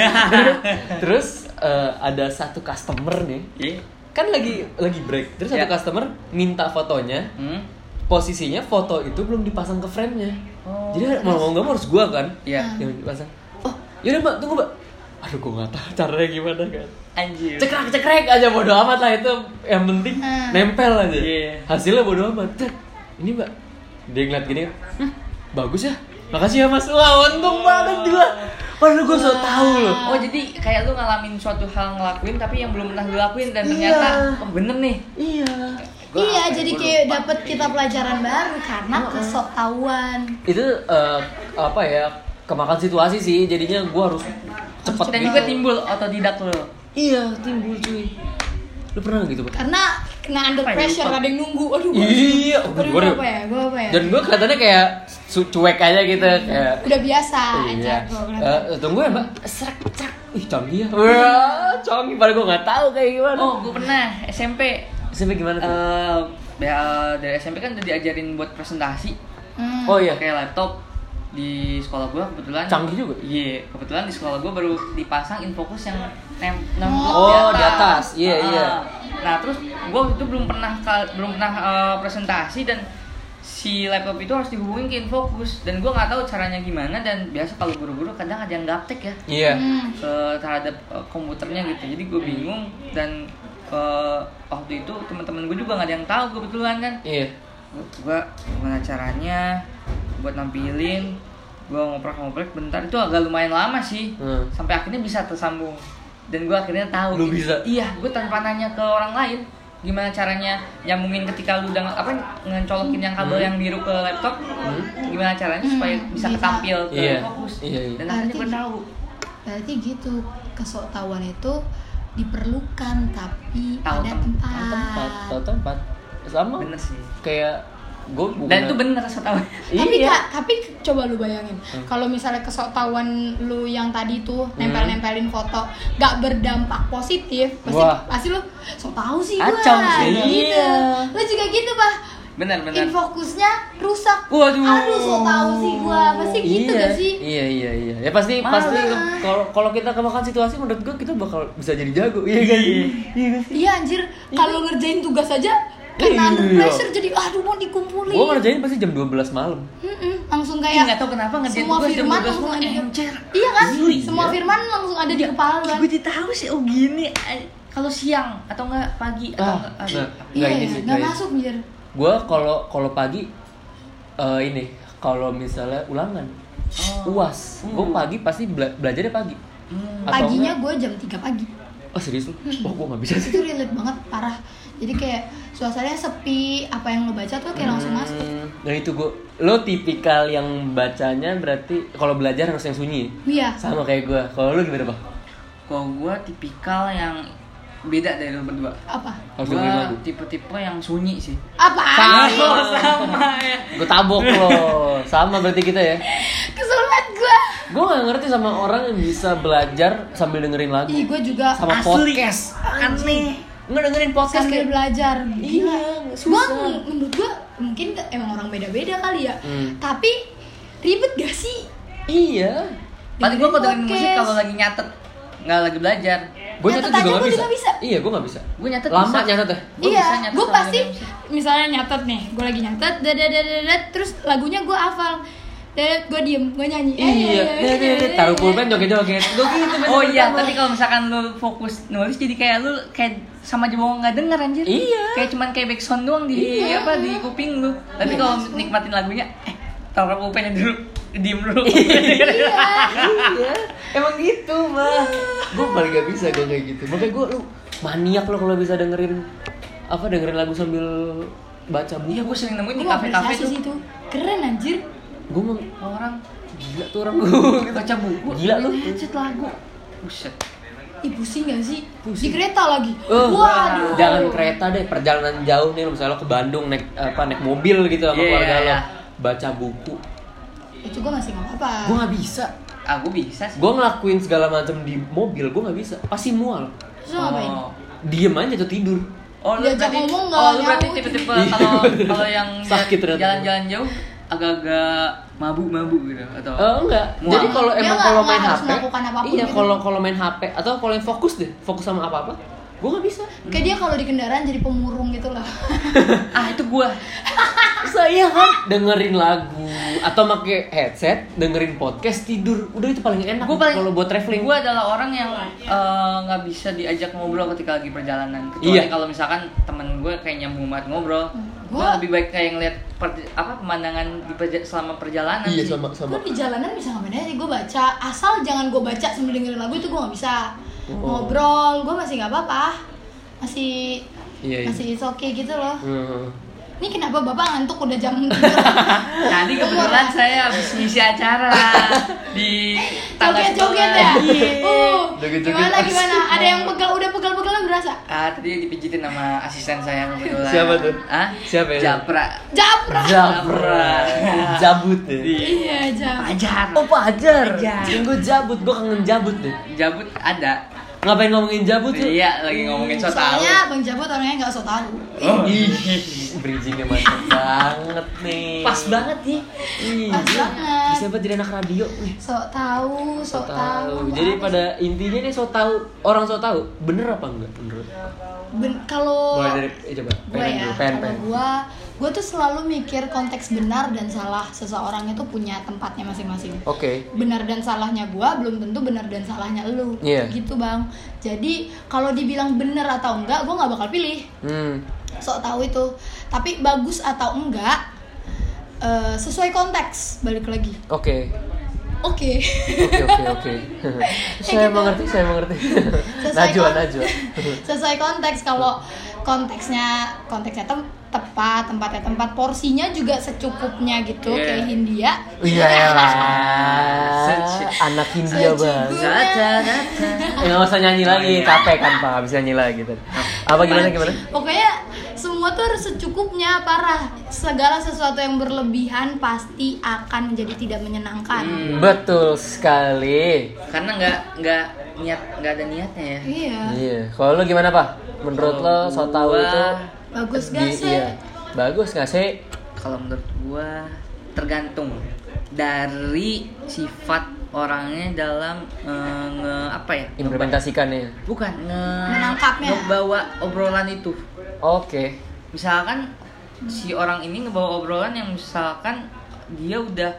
[SPEAKER 1] Terus eh, ada satu customer nih.
[SPEAKER 3] Iya.
[SPEAKER 1] Kan lagi lagi break. Terus
[SPEAKER 3] Iya.
[SPEAKER 1] satu customer minta fotonya.
[SPEAKER 3] Hmm.
[SPEAKER 1] Posisinya foto itu belum dipasang ke frame-nya.
[SPEAKER 3] Oh.
[SPEAKER 1] Jadi mau mau nggak mau harus gua kan.
[SPEAKER 3] Iya.
[SPEAKER 1] Yang dipasang. Oh, yaudah Mbak, tunggu Mbak. Aduh, gue nggak tahu caranya gimana kan.
[SPEAKER 3] Anjir.
[SPEAKER 1] cekrek cekrek aja bodo amat lah itu yang penting
[SPEAKER 2] Hmm.
[SPEAKER 1] nempel aja
[SPEAKER 3] Iya.
[SPEAKER 1] hasilnya bodo amat Cek. ini mbak dia ngeliat gini "Hmm, bagus ya makasih ya mas wah untung banget gua padahal gue so tau loh
[SPEAKER 3] Oh jadi kayak lu ngalamin suatu hal ngelakuin tapi yang belum pernah lu lakuin dan ternyata
[SPEAKER 1] Iya.
[SPEAKER 3] oh, bener nih.
[SPEAKER 1] iya
[SPEAKER 3] Gua
[SPEAKER 2] iya
[SPEAKER 3] apa ya,
[SPEAKER 2] jadi
[SPEAKER 3] gua
[SPEAKER 2] kayak
[SPEAKER 3] lupa.
[SPEAKER 2] dapet kita pelajaran baru karena kesok tauan
[SPEAKER 1] itu eh, apa ya kemakan situasi sih jadinya gua harus cepet
[SPEAKER 3] Dan
[SPEAKER 1] gitu.
[SPEAKER 3] juga timbul otodidak lu.
[SPEAKER 1] iya timbul cuy lu pernah nggak gitu mbak
[SPEAKER 2] karena kena under
[SPEAKER 3] Apa ya,
[SPEAKER 2] pressure
[SPEAKER 3] lupa.
[SPEAKER 2] ada yang nunggu aduh gua-
[SPEAKER 1] iya
[SPEAKER 2] aduh, gua apa ya gue apa ya
[SPEAKER 1] dan gue kelihatannya kayak su- cuek aja gitu kayak
[SPEAKER 2] udah biasa aja
[SPEAKER 1] Iya.
[SPEAKER 2] gue
[SPEAKER 1] Eh, eh, tunggu ya mbak. Serak serak. Ih canggih ya. Wah canggih. Padahal gue nggak tahu kayak gimana.
[SPEAKER 3] Oh, gue pernah SMP.
[SPEAKER 1] Sampai gimana tuh?
[SPEAKER 3] Eh, ya, dari SMP kan udah diajarin buat presentasi
[SPEAKER 2] Hmm.
[SPEAKER 1] oh iya.
[SPEAKER 3] pakai laptop di sekolah gua kebetulan
[SPEAKER 1] Canggih juga.
[SPEAKER 3] iya kebetulan di sekolah gua baru dipasang infokus yang nem nemplok
[SPEAKER 1] Oh, di atas. Iya,
[SPEAKER 3] Ah.
[SPEAKER 1] iya.
[SPEAKER 3] nah terus gua waktu itu belum pernah kal- belum pernah eh, presentasi dan si laptop itu harus dihubungin ke infokus dan gua nggak tahu caranya gimana dan biasa kalau buru-buru kadang ada yang gaptek ya
[SPEAKER 1] Iya.
[SPEAKER 2] Hmm.
[SPEAKER 3] eh, terhadap eh, komputernya gitu jadi gue bingung dan eh, waktu itu teman-teman gue juga nggak ada yang tahu kebetulan kan
[SPEAKER 1] Iya.
[SPEAKER 3] gue gimana caranya buat nampilin gue ngoprek-ngoprek bentar itu agak lumayan lama sih
[SPEAKER 1] Hmm.
[SPEAKER 3] sampai akhirnya bisa tersambung dan gue akhirnya tahu
[SPEAKER 1] Lu
[SPEAKER 3] gitu.
[SPEAKER 1] bisa?
[SPEAKER 3] iya gue tanpa nanya ke orang lain gimana caranya nyambungin ketika lu udah nge- apa ngencolokin yang kabel
[SPEAKER 1] Hmm.
[SPEAKER 3] yang biru ke laptop gimana caranya supaya bisa
[SPEAKER 2] Hmm, bisa.
[SPEAKER 3] ketampil ke
[SPEAKER 1] Iya.
[SPEAKER 3] fokus
[SPEAKER 1] Iya, iya.
[SPEAKER 3] dan akhirnya gue
[SPEAKER 2] Artinya-
[SPEAKER 3] tahu
[SPEAKER 2] berarti gitu kesok tauan itu diperlukan tapi
[SPEAKER 3] Tahu
[SPEAKER 2] ada
[SPEAKER 3] tem-
[SPEAKER 2] tempat,
[SPEAKER 1] Tahu tempat.
[SPEAKER 2] Ah.
[SPEAKER 1] Tahu tempat. Sama.
[SPEAKER 3] bener sih
[SPEAKER 1] Kayak gue bukan.
[SPEAKER 3] dan itu bener so tau
[SPEAKER 2] Nah, tapi
[SPEAKER 1] Iya. Hmm.
[SPEAKER 2] kak tapi coba lu bayangin kalau misalnya kesok tauan lu yang tadi tuh nempel-nempelin foto gak berdampak positif pasti
[SPEAKER 1] Wah.
[SPEAKER 2] pasti lu so tau sih
[SPEAKER 3] Kacau
[SPEAKER 2] gua
[SPEAKER 3] sih.
[SPEAKER 2] gitu
[SPEAKER 1] Iya.
[SPEAKER 2] lu juga gitu bah
[SPEAKER 3] bener bener
[SPEAKER 2] infokusnya rusak
[SPEAKER 3] Waduh.
[SPEAKER 2] aduh so tau sih gua pasti gitu
[SPEAKER 1] iya,
[SPEAKER 2] gak sih
[SPEAKER 1] Iya iya iya. Ya pasti
[SPEAKER 3] Malah.
[SPEAKER 1] pasti kalau kalau kita kemakan situasi menurut gue kita bakal bisa jadi jago. Iya kan?
[SPEAKER 3] Iya.
[SPEAKER 1] Iya kan?
[SPEAKER 2] Iya anjir, kalau ngerjain tugas aja
[SPEAKER 1] Iya.
[SPEAKER 2] karena under pressure jadi aduh mau dikumpulin.
[SPEAKER 1] Gue ngerjain pasti jam 12 malam.
[SPEAKER 2] Mm-mm, langsung
[SPEAKER 3] Ih,
[SPEAKER 2] kayak
[SPEAKER 3] nggak tahu kenapa ngerjain
[SPEAKER 2] semua
[SPEAKER 3] tugas jam
[SPEAKER 2] firman
[SPEAKER 3] 12
[SPEAKER 2] langsung
[SPEAKER 3] malam
[SPEAKER 2] ada di-
[SPEAKER 3] encer
[SPEAKER 2] Iya kan?
[SPEAKER 1] Iya.
[SPEAKER 2] Semua firman langsung ada di kepala lu kan.
[SPEAKER 3] gue tahu sih oh gini eh, kalau siang atau enggak pagi atau enggak
[SPEAKER 1] Ah,
[SPEAKER 3] aduh.
[SPEAKER 1] nah,
[SPEAKER 2] Iya,
[SPEAKER 1] nggak ini sih.
[SPEAKER 2] nggak
[SPEAKER 1] nggak ini.
[SPEAKER 2] masuk anjir.
[SPEAKER 1] gue kalau kalau pagi eh, ini kalau misalnya ulangan
[SPEAKER 3] Oh.
[SPEAKER 1] uas gue pagi pasti bela belajarnya pagi
[SPEAKER 3] Hmm.
[SPEAKER 1] Atau
[SPEAKER 2] Paginya Hmm. gue jam 3 pagi.
[SPEAKER 1] oh serius lu? oh gue nggak bisa sih
[SPEAKER 2] Itu relate banget parah. jadi kayak suasananya sepi apa yang lo baca tuh kayak langsung masuk
[SPEAKER 1] Hmm, nah itu gue, lo tipikal yang bacanya berarti kalau belajar harus yang sunyi.
[SPEAKER 2] iya
[SPEAKER 1] Sama kayak gue. Kalau lo gimana bang?
[SPEAKER 3] Kalau gue tipikal yang beda dari lu berdua.
[SPEAKER 2] apa
[SPEAKER 1] Harus
[SPEAKER 3] Gue
[SPEAKER 1] dengerin lagu.
[SPEAKER 3] tipe-tipe yang sunyi sih.
[SPEAKER 2] apa
[SPEAKER 3] sama ya.
[SPEAKER 1] Gue tabok lo. Sama berarti kita ya.
[SPEAKER 2] kesel banget gue
[SPEAKER 1] Gue gak ngerti sama orang yang bisa belajar sambil dengerin lagu.
[SPEAKER 2] ih gue juga
[SPEAKER 1] Sama podcast.
[SPEAKER 3] Aneh.
[SPEAKER 1] Nggak dengerin podcast
[SPEAKER 2] sambil
[SPEAKER 1] kayak
[SPEAKER 2] belajar
[SPEAKER 1] Iya,
[SPEAKER 2] gue
[SPEAKER 1] susah.
[SPEAKER 2] menurut gue mungkin ke- emang orang beda-beda kali ya
[SPEAKER 1] Hmm.
[SPEAKER 2] tapi ribet gak sih
[SPEAKER 1] Iya.
[SPEAKER 3] Paling gue kalau dengerin musik
[SPEAKER 2] podcast.
[SPEAKER 3] kalau lagi nyatet, nggak lagi belajar.
[SPEAKER 1] Gue nyatet
[SPEAKER 2] Nyatet
[SPEAKER 1] juga
[SPEAKER 2] aja
[SPEAKER 1] gak
[SPEAKER 2] gua
[SPEAKER 1] bisa.
[SPEAKER 2] juga bisa.
[SPEAKER 1] Iya, gue gak bisa.
[SPEAKER 3] Gue nyatet
[SPEAKER 1] Lama
[SPEAKER 3] bisa.
[SPEAKER 1] nyatet ya.
[SPEAKER 3] Gua bisa
[SPEAKER 2] iya,
[SPEAKER 3] nyatet
[SPEAKER 2] gue
[SPEAKER 3] sama
[SPEAKER 2] pasti
[SPEAKER 3] dia bisa.
[SPEAKER 2] misalnya nyatet nih, gue lagi nyatet, dadadadadad, terus lagunya gue hafal, dadat gue diem, gue nyanyi. Eh,
[SPEAKER 1] Iya,
[SPEAKER 2] eh,
[SPEAKER 1] iya,
[SPEAKER 2] eh,
[SPEAKER 1] iya.
[SPEAKER 2] eh,
[SPEAKER 1] taruh
[SPEAKER 2] eh.
[SPEAKER 1] pulpen joget-joget. Gue gitu
[SPEAKER 3] Oh
[SPEAKER 1] bener-bener.
[SPEAKER 3] iya, tapi kalau misalkan lu fokus nulis jadi kayak lu kayak sama aja bohong nggak denger anjir.
[SPEAKER 1] Iya.
[SPEAKER 3] Kayak cuman kayak back sound doang di apa di kuping lu.
[SPEAKER 1] Iya.
[SPEAKER 3] Tapi kalau nikmatin lagunya, eh taruh pulpennya dulu, diem dulu.
[SPEAKER 1] iya emang gitu mah gue paling gak bisa gue kayak gitu makanya gue lu maniak lo kalau bisa dengerin apa dengerin lagu sambil baca
[SPEAKER 3] Iya,
[SPEAKER 1] buku
[SPEAKER 3] gue sering nemuin di
[SPEAKER 2] Gue
[SPEAKER 3] kafe-kafe
[SPEAKER 2] apresiasi
[SPEAKER 3] tuh
[SPEAKER 2] sih itu, keren anjir.
[SPEAKER 1] gue mau
[SPEAKER 3] orang
[SPEAKER 1] gila tuh orang gue
[SPEAKER 3] baca buku,
[SPEAKER 1] Gila lu.
[SPEAKER 3] headset lagu. Buset.
[SPEAKER 2] Ih pusing gak sih? Di kereta lagi.
[SPEAKER 1] Eh,
[SPEAKER 2] Waduh.
[SPEAKER 1] jangan kereta deh perjalanan jauh nih misalnya lo ke Bandung naik apa naik mobil gitu sama
[SPEAKER 3] Iya,
[SPEAKER 1] keluarga
[SPEAKER 3] iya.
[SPEAKER 1] lo baca buku
[SPEAKER 2] Itu gue Eh, masih nggak apa-apa.
[SPEAKER 1] gue nggak bisa
[SPEAKER 3] Ah, gue bisa sih.
[SPEAKER 1] gue ngelakuin segala macam di mobil gue nggak bisa pasti mual
[SPEAKER 2] Terus lo ngapain?
[SPEAKER 3] Oh.
[SPEAKER 1] diem aja tuh tidur
[SPEAKER 3] Oh, lu
[SPEAKER 2] Diajak
[SPEAKER 3] berarti,
[SPEAKER 2] ngomong nggak
[SPEAKER 3] oh, lu berarti
[SPEAKER 2] nyaut.
[SPEAKER 3] tipe-tipe
[SPEAKER 1] Iya,
[SPEAKER 3] kalau
[SPEAKER 1] bener.
[SPEAKER 3] kalau yang
[SPEAKER 1] Sakit ternyata.
[SPEAKER 3] jalan-jalan jauh agak-agak mabuk-mabuk gitu atau
[SPEAKER 1] Eh, enggak.
[SPEAKER 3] Mual.
[SPEAKER 1] Jadi kalau
[SPEAKER 2] Dia
[SPEAKER 1] emang
[SPEAKER 2] nggak-
[SPEAKER 1] kalau
[SPEAKER 2] nggak
[SPEAKER 1] main
[SPEAKER 2] harus
[SPEAKER 1] HP,
[SPEAKER 2] melakukan apapun
[SPEAKER 1] iya
[SPEAKER 2] gitu.
[SPEAKER 1] kalau kalau main HP atau kalau yang fokus deh, fokus sama apa apa, gue nggak bisa.
[SPEAKER 2] Kayak dia kalau di kendaraan jadi pemurung gitu loh.
[SPEAKER 3] ah itu gua
[SPEAKER 1] Saya kan dengerin lagu atau pakai headset, dengerin podcast tidur, udah itu paling enak.
[SPEAKER 3] Gua paling-
[SPEAKER 1] kalau buat traveling.
[SPEAKER 3] gue adalah orang yang eh, nggak bisa diajak ngobrol ketika lagi perjalanan kecuali
[SPEAKER 1] Iya.
[SPEAKER 3] kalau misalkan temen gue kayak nyambung banget ngobrol gue
[SPEAKER 2] Hmm. Gua-
[SPEAKER 3] lebih baik kayak ngeliat per- apa pemandangan di perja- selama perjalanan
[SPEAKER 1] iya
[SPEAKER 3] sih.
[SPEAKER 1] sama sama.
[SPEAKER 2] gue di jalanan bisa ngapain aja gue baca asal jangan gue baca sambil dengerin lagu itu gue nggak bisa
[SPEAKER 1] Oh.
[SPEAKER 2] ngobrol gue masih nggak apa-apa masih
[SPEAKER 1] Iya. iya.
[SPEAKER 2] masih it's okay gitu loh
[SPEAKER 1] Hmm.
[SPEAKER 2] ini kenapa bapak ngantuk udah jam tidur
[SPEAKER 3] tadi kebetulan saya habis ngisi acara di tangga
[SPEAKER 2] joget-joget
[SPEAKER 3] sekolah.
[SPEAKER 2] ya
[SPEAKER 3] Iya.
[SPEAKER 2] uh,
[SPEAKER 1] Joget-joget
[SPEAKER 2] gimana
[SPEAKER 1] asik.
[SPEAKER 2] gimana ada yang pegal udah pegal-pegalan berasa
[SPEAKER 3] Ah, tadi dipijitin sama asisten saya kebetulan.
[SPEAKER 1] Siapa tuh?
[SPEAKER 3] Ah,
[SPEAKER 1] Siapa ya?
[SPEAKER 3] Japra.
[SPEAKER 2] japra
[SPEAKER 1] Jabra, jabut deh.
[SPEAKER 2] iya jam
[SPEAKER 3] Ajar.
[SPEAKER 1] Oh pajar, gue jabut, gue kangen jabut deh.
[SPEAKER 3] Jabut ada.
[SPEAKER 1] Ngapain ngomongin jabut tuh?
[SPEAKER 3] Iya, lagi ngomongin soal tahu.
[SPEAKER 2] soalnya bang jabut orangnya nggak so tau
[SPEAKER 1] Ih, bridgingnya mantep banget nih.
[SPEAKER 3] Pas banget nih.
[SPEAKER 1] Ih,
[SPEAKER 2] Pas
[SPEAKER 1] gila.
[SPEAKER 2] banget.
[SPEAKER 1] Bisa buat Iya. jadi anak radio nih.
[SPEAKER 2] so tau so
[SPEAKER 1] So
[SPEAKER 2] tau
[SPEAKER 1] tahu. Jadi pada intinya nih so tahu orang so tahu bener apa enggak menurut? lo?
[SPEAKER 2] Ben- kalau
[SPEAKER 1] Mulai dari eh, coba
[SPEAKER 2] Oh. gue
[SPEAKER 1] pen
[SPEAKER 2] ya
[SPEAKER 1] dulu pen
[SPEAKER 2] kalau
[SPEAKER 1] pen.
[SPEAKER 2] gue gue tuh selalu mikir konteks benar dan salah seseorang itu punya tempatnya masing-masing
[SPEAKER 1] Oke.
[SPEAKER 2] benar dan salahnya gue belum tentu benar dan salahnya lu
[SPEAKER 1] Iya.
[SPEAKER 2] gitu bang jadi kalau dibilang benar atau enggak gue nggak bakal pilih
[SPEAKER 1] Hmm.
[SPEAKER 2] sok tahu itu tapi bagus atau enggak eh, sesuai konteks balik lagi
[SPEAKER 1] Oke.
[SPEAKER 2] oke
[SPEAKER 1] Oke oke oke. Saya mengerti, saya mengerti.
[SPEAKER 2] Sesuai
[SPEAKER 1] Najwa
[SPEAKER 2] kon-
[SPEAKER 1] Najwa.
[SPEAKER 2] sesuai konteks kalau konteksnya konteksnya tem- tepat tempatnya tempat porsinya juga secukupnya gitu
[SPEAKER 3] Iya.
[SPEAKER 2] kayak Hindia
[SPEAKER 1] Iya lah.
[SPEAKER 3] Sejuk.
[SPEAKER 1] Anak Hindia
[SPEAKER 2] Sejuk
[SPEAKER 1] banget.
[SPEAKER 3] Data, data.
[SPEAKER 1] Eh, Nggak usah nyanyi lagi,
[SPEAKER 3] Iya.
[SPEAKER 1] capek kan pak, bisa nyanyi lagi gitu. Apa gimana gimana?
[SPEAKER 2] pokoknya semua tuh harus secukupnya parah segala sesuatu yang berlebihan pasti akan menjadi tidak menyenangkan
[SPEAKER 1] Hmm. Betul sekali.
[SPEAKER 3] Karena nggak nggak niat nggak ada niatnya ya.
[SPEAKER 2] iya
[SPEAKER 1] Iya. Kalau lo gimana pak? Menurut lo
[SPEAKER 3] Kalau
[SPEAKER 1] so tahu
[SPEAKER 3] gua-
[SPEAKER 1] itu
[SPEAKER 2] bagus
[SPEAKER 1] di-
[SPEAKER 2] gak sih
[SPEAKER 1] iya. bagus nggak sih?
[SPEAKER 3] Kalau menurut gua tergantung dari sifat orangnya dalam eh, nge- apa ya?
[SPEAKER 1] Implementasikan ya.
[SPEAKER 3] Bukan nge
[SPEAKER 2] Menangkapnya.
[SPEAKER 3] ngebawa obrolan itu.
[SPEAKER 1] Oke.
[SPEAKER 3] misalkan si orang ini ngebawa obrolan yang misalkan dia udah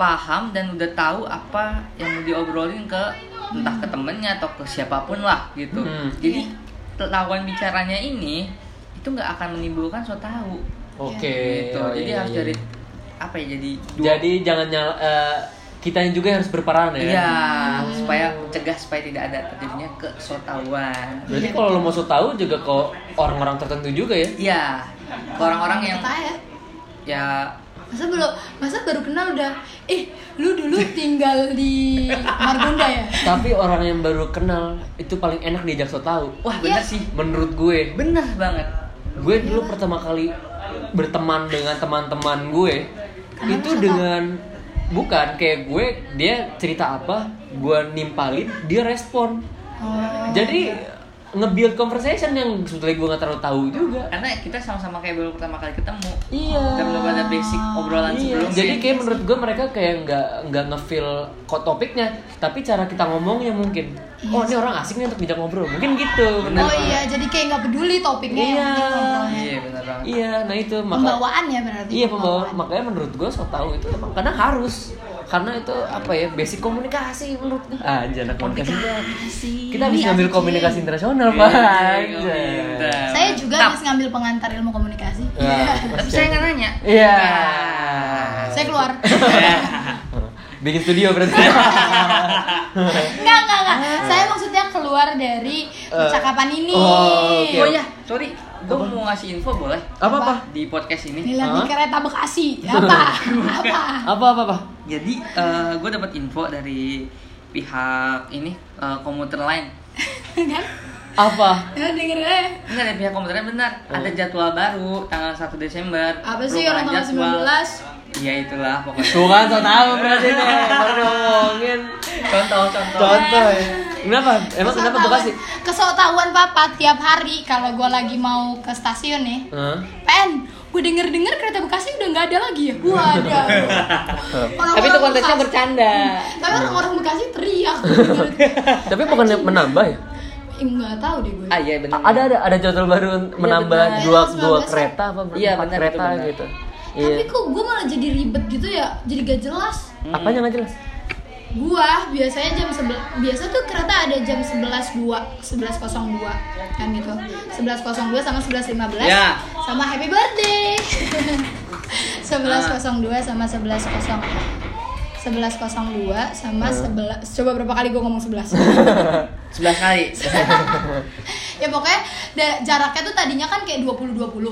[SPEAKER 3] paham dan udah tahu apa yang mau diobrolin ke entah ke temennya atau ke siapapun lah gitu
[SPEAKER 1] Hmm.
[SPEAKER 3] jadi lawan bicaranya ini itu nggak akan menimbulkan so tahu
[SPEAKER 1] Oke.
[SPEAKER 3] gitu
[SPEAKER 1] Oh,
[SPEAKER 3] jadi
[SPEAKER 1] iya,
[SPEAKER 3] harus
[SPEAKER 1] iya.
[SPEAKER 3] dari apa ya jadi dua
[SPEAKER 1] Jadi jangan nyal eh, kitanya juga yang harus berperan ya.
[SPEAKER 3] Iya, supaya cegah supaya tidak ada terjadinya kesotauan.
[SPEAKER 1] Berarti kalau lo mau so tahu juga ke orang-orang tertentu juga ya.
[SPEAKER 3] Iya, ke orang-orang yang
[SPEAKER 2] Kita ya.
[SPEAKER 3] ya
[SPEAKER 2] Masa belum masa baru kenal udah eh lu dulu tinggal di Margonda ya?
[SPEAKER 1] Tapi orang yang baru kenal itu paling enak diajak so tahu.
[SPEAKER 3] wah
[SPEAKER 2] Iya.
[SPEAKER 3] bener sih,
[SPEAKER 1] Menurut gue,
[SPEAKER 3] bener banget.
[SPEAKER 1] gue
[SPEAKER 3] Iya.
[SPEAKER 1] dulu pertama kali berteman dengan teman-teman gue
[SPEAKER 2] Kenapa
[SPEAKER 1] itu
[SPEAKER 2] so tau?
[SPEAKER 1] dengan bukan kayak gue dia cerita apa gue nimpalin dia respon
[SPEAKER 2] Oh.
[SPEAKER 1] jadi nge-build conversation yang sebetulnya gue nggak terlalu tahu juga
[SPEAKER 3] Karena kita sama-sama kayak baru pertama kali ketemu.
[SPEAKER 1] Iya.
[SPEAKER 3] Kita belum ada basic obrolan
[SPEAKER 1] Iya,
[SPEAKER 3] sebelumnya.
[SPEAKER 1] jadi kayak menurut gue mereka kayak nggak nggak ngefeel kok topiknya, tapi cara kita ngomongnya mungkin. Oh ini orang asik nih untuk bijak ngobrol, mungkin gitu.
[SPEAKER 3] Bener
[SPEAKER 2] Oh
[SPEAKER 1] Benar.
[SPEAKER 2] iya, jadi kayak nggak peduli topiknya yang
[SPEAKER 1] Iya.
[SPEAKER 2] penting ngobrolnya.
[SPEAKER 3] Iya bener banget.
[SPEAKER 1] Iya, nah itu maka
[SPEAKER 2] Pembawaan ya berarti.
[SPEAKER 1] iya pembawa. Makanya menurut gue so tau itu emang karena harus karena itu apa ya basic komunikasi menurut gue. Ah, aja anak komunikasi.
[SPEAKER 2] Komunikasi. Iya,
[SPEAKER 1] Kita habis ngambil
[SPEAKER 2] Anjing.
[SPEAKER 1] komunikasi internasional,
[SPEAKER 3] Iya,
[SPEAKER 1] Pak. Anjay.
[SPEAKER 3] Pintar.
[SPEAKER 2] Saya juga
[SPEAKER 3] Tap.
[SPEAKER 2] habis ngambil pengantar ilmu komunikasi.
[SPEAKER 1] Nah,
[SPEAKER 3] Tapi saya nggak nanya.
[SPEAKER 1] Iya.
[SPEAKER 2] Saya keluar.
[SPEAKER 1] Bikin studio berarti.
[SPEAKER 2] Enggak, enggak, enggak. Saya maksudnya keluar dari percakapan ini. iya.
[SPEAKER 1] oh, oke.
[SPEAKER 3] Oh ya, sorry, gue mau ngasih info boleh
[SPEAKER 1] apa apa
[SPEAKER 3] di podcast ini.
[SPEAKER 2] Nilang di
[SPEAKER 1] Hah?
[SPEAKER 2] kereta Bekasi. Apa? Apa?
[SPEAKER 1] apa apa apa
[SPEAKER 3] Jadi gue dapat info dari pihak ini eh, komuter lain.
[SPEAKER 2] Kan?
[SPEAKER 1] apa
[SPEAKER 2] Ya denger aja.
[SPEAKER 3] Enggak dari pihak komuternya benar.
[SPEAKER 1] Oh.
[SPEAKER 3] Ada jadwal baru tanggal 1 Desember.
[SPEAKER 2] Apa sih
[SPEAKER 3] Perubahan
[SPEAKER 2] orang tanggal
[SPEAKER 3] jadwal.
[SPEAKER 2] 19?
[SPEAKER 3] Iya itulah pokoknya.
[SPEAKER 1] tuh kan so tau berarti deh baru ngomongin
[SPEAKER 3] Contoh-contoh.
[SPEAKER 1] contoh ya kenapa emang kenapa
[SPEAKER 2] Kesotauan-
[SPEAKER 1] bekasi
[SPEAKER 2] Kesotauan papa tiap hari kalau gua lagi mau ke stasiun nih.
[SPEAKER 1] Hah?
[SPEAKER 2] Pen, gue denger-denger kereta Bekasi udah nggak ada lagi ya? Waduh. Orang-orang
[SPEAKER 3] Tapi itu konteksnya
[SPEAKER 2] Bekasi- Hmm.
[SPEAKER 3] bercanda.
[SPEAKER 2] Tapi orang-orang Bekasi teriak. denger.
[SPEAKER 1] tapi bukan menambah ya
[SPEAKER 2] Ih, nggak tahu deh gue.
[SPEAKER 3] Ah iya benar.
[SPEAKER 1] A- ada ada ada jadwal baru menambah
[SPEAKER 3] benar.
[SPEAKER 1] dua
[SPEAKER 2] Iya,
[SPEAKER 1] dua
[SPEAKER 2] 19.
[SPEAKER 1] kereta apa
[SPEAKER 3] Iya,
[SPEAKER 1] empat
[SPEAKER 3] benar, itu
[SPEAKER 1] kereta
[SPEAKER 3] benar.
[SPEAKER 1] gitu iya
[SPEAKER 2] Tapi kok gue malah jadi ribet gitu ya? Jadi gak jelas.
[SPEAKER 1] apanya nggak jelas
[SPEAKER 2] Gua biasanya jam 11 biasa tuh kereta ada jam 11.02, 11.02 kan gitu. 11.02 sama 11.15
[SPEAKER 3] Ya.
[SPEAKER 2] sama happy birthday. 11.02 sama 11.00 11.02 sama 11 coba berapa kali gue ngomong 11
[SPEAKER 3] 11 kali.
[SPEAKER 2] ya pokoknya da- jaraknya tuh tadinya kan kayak 20 20.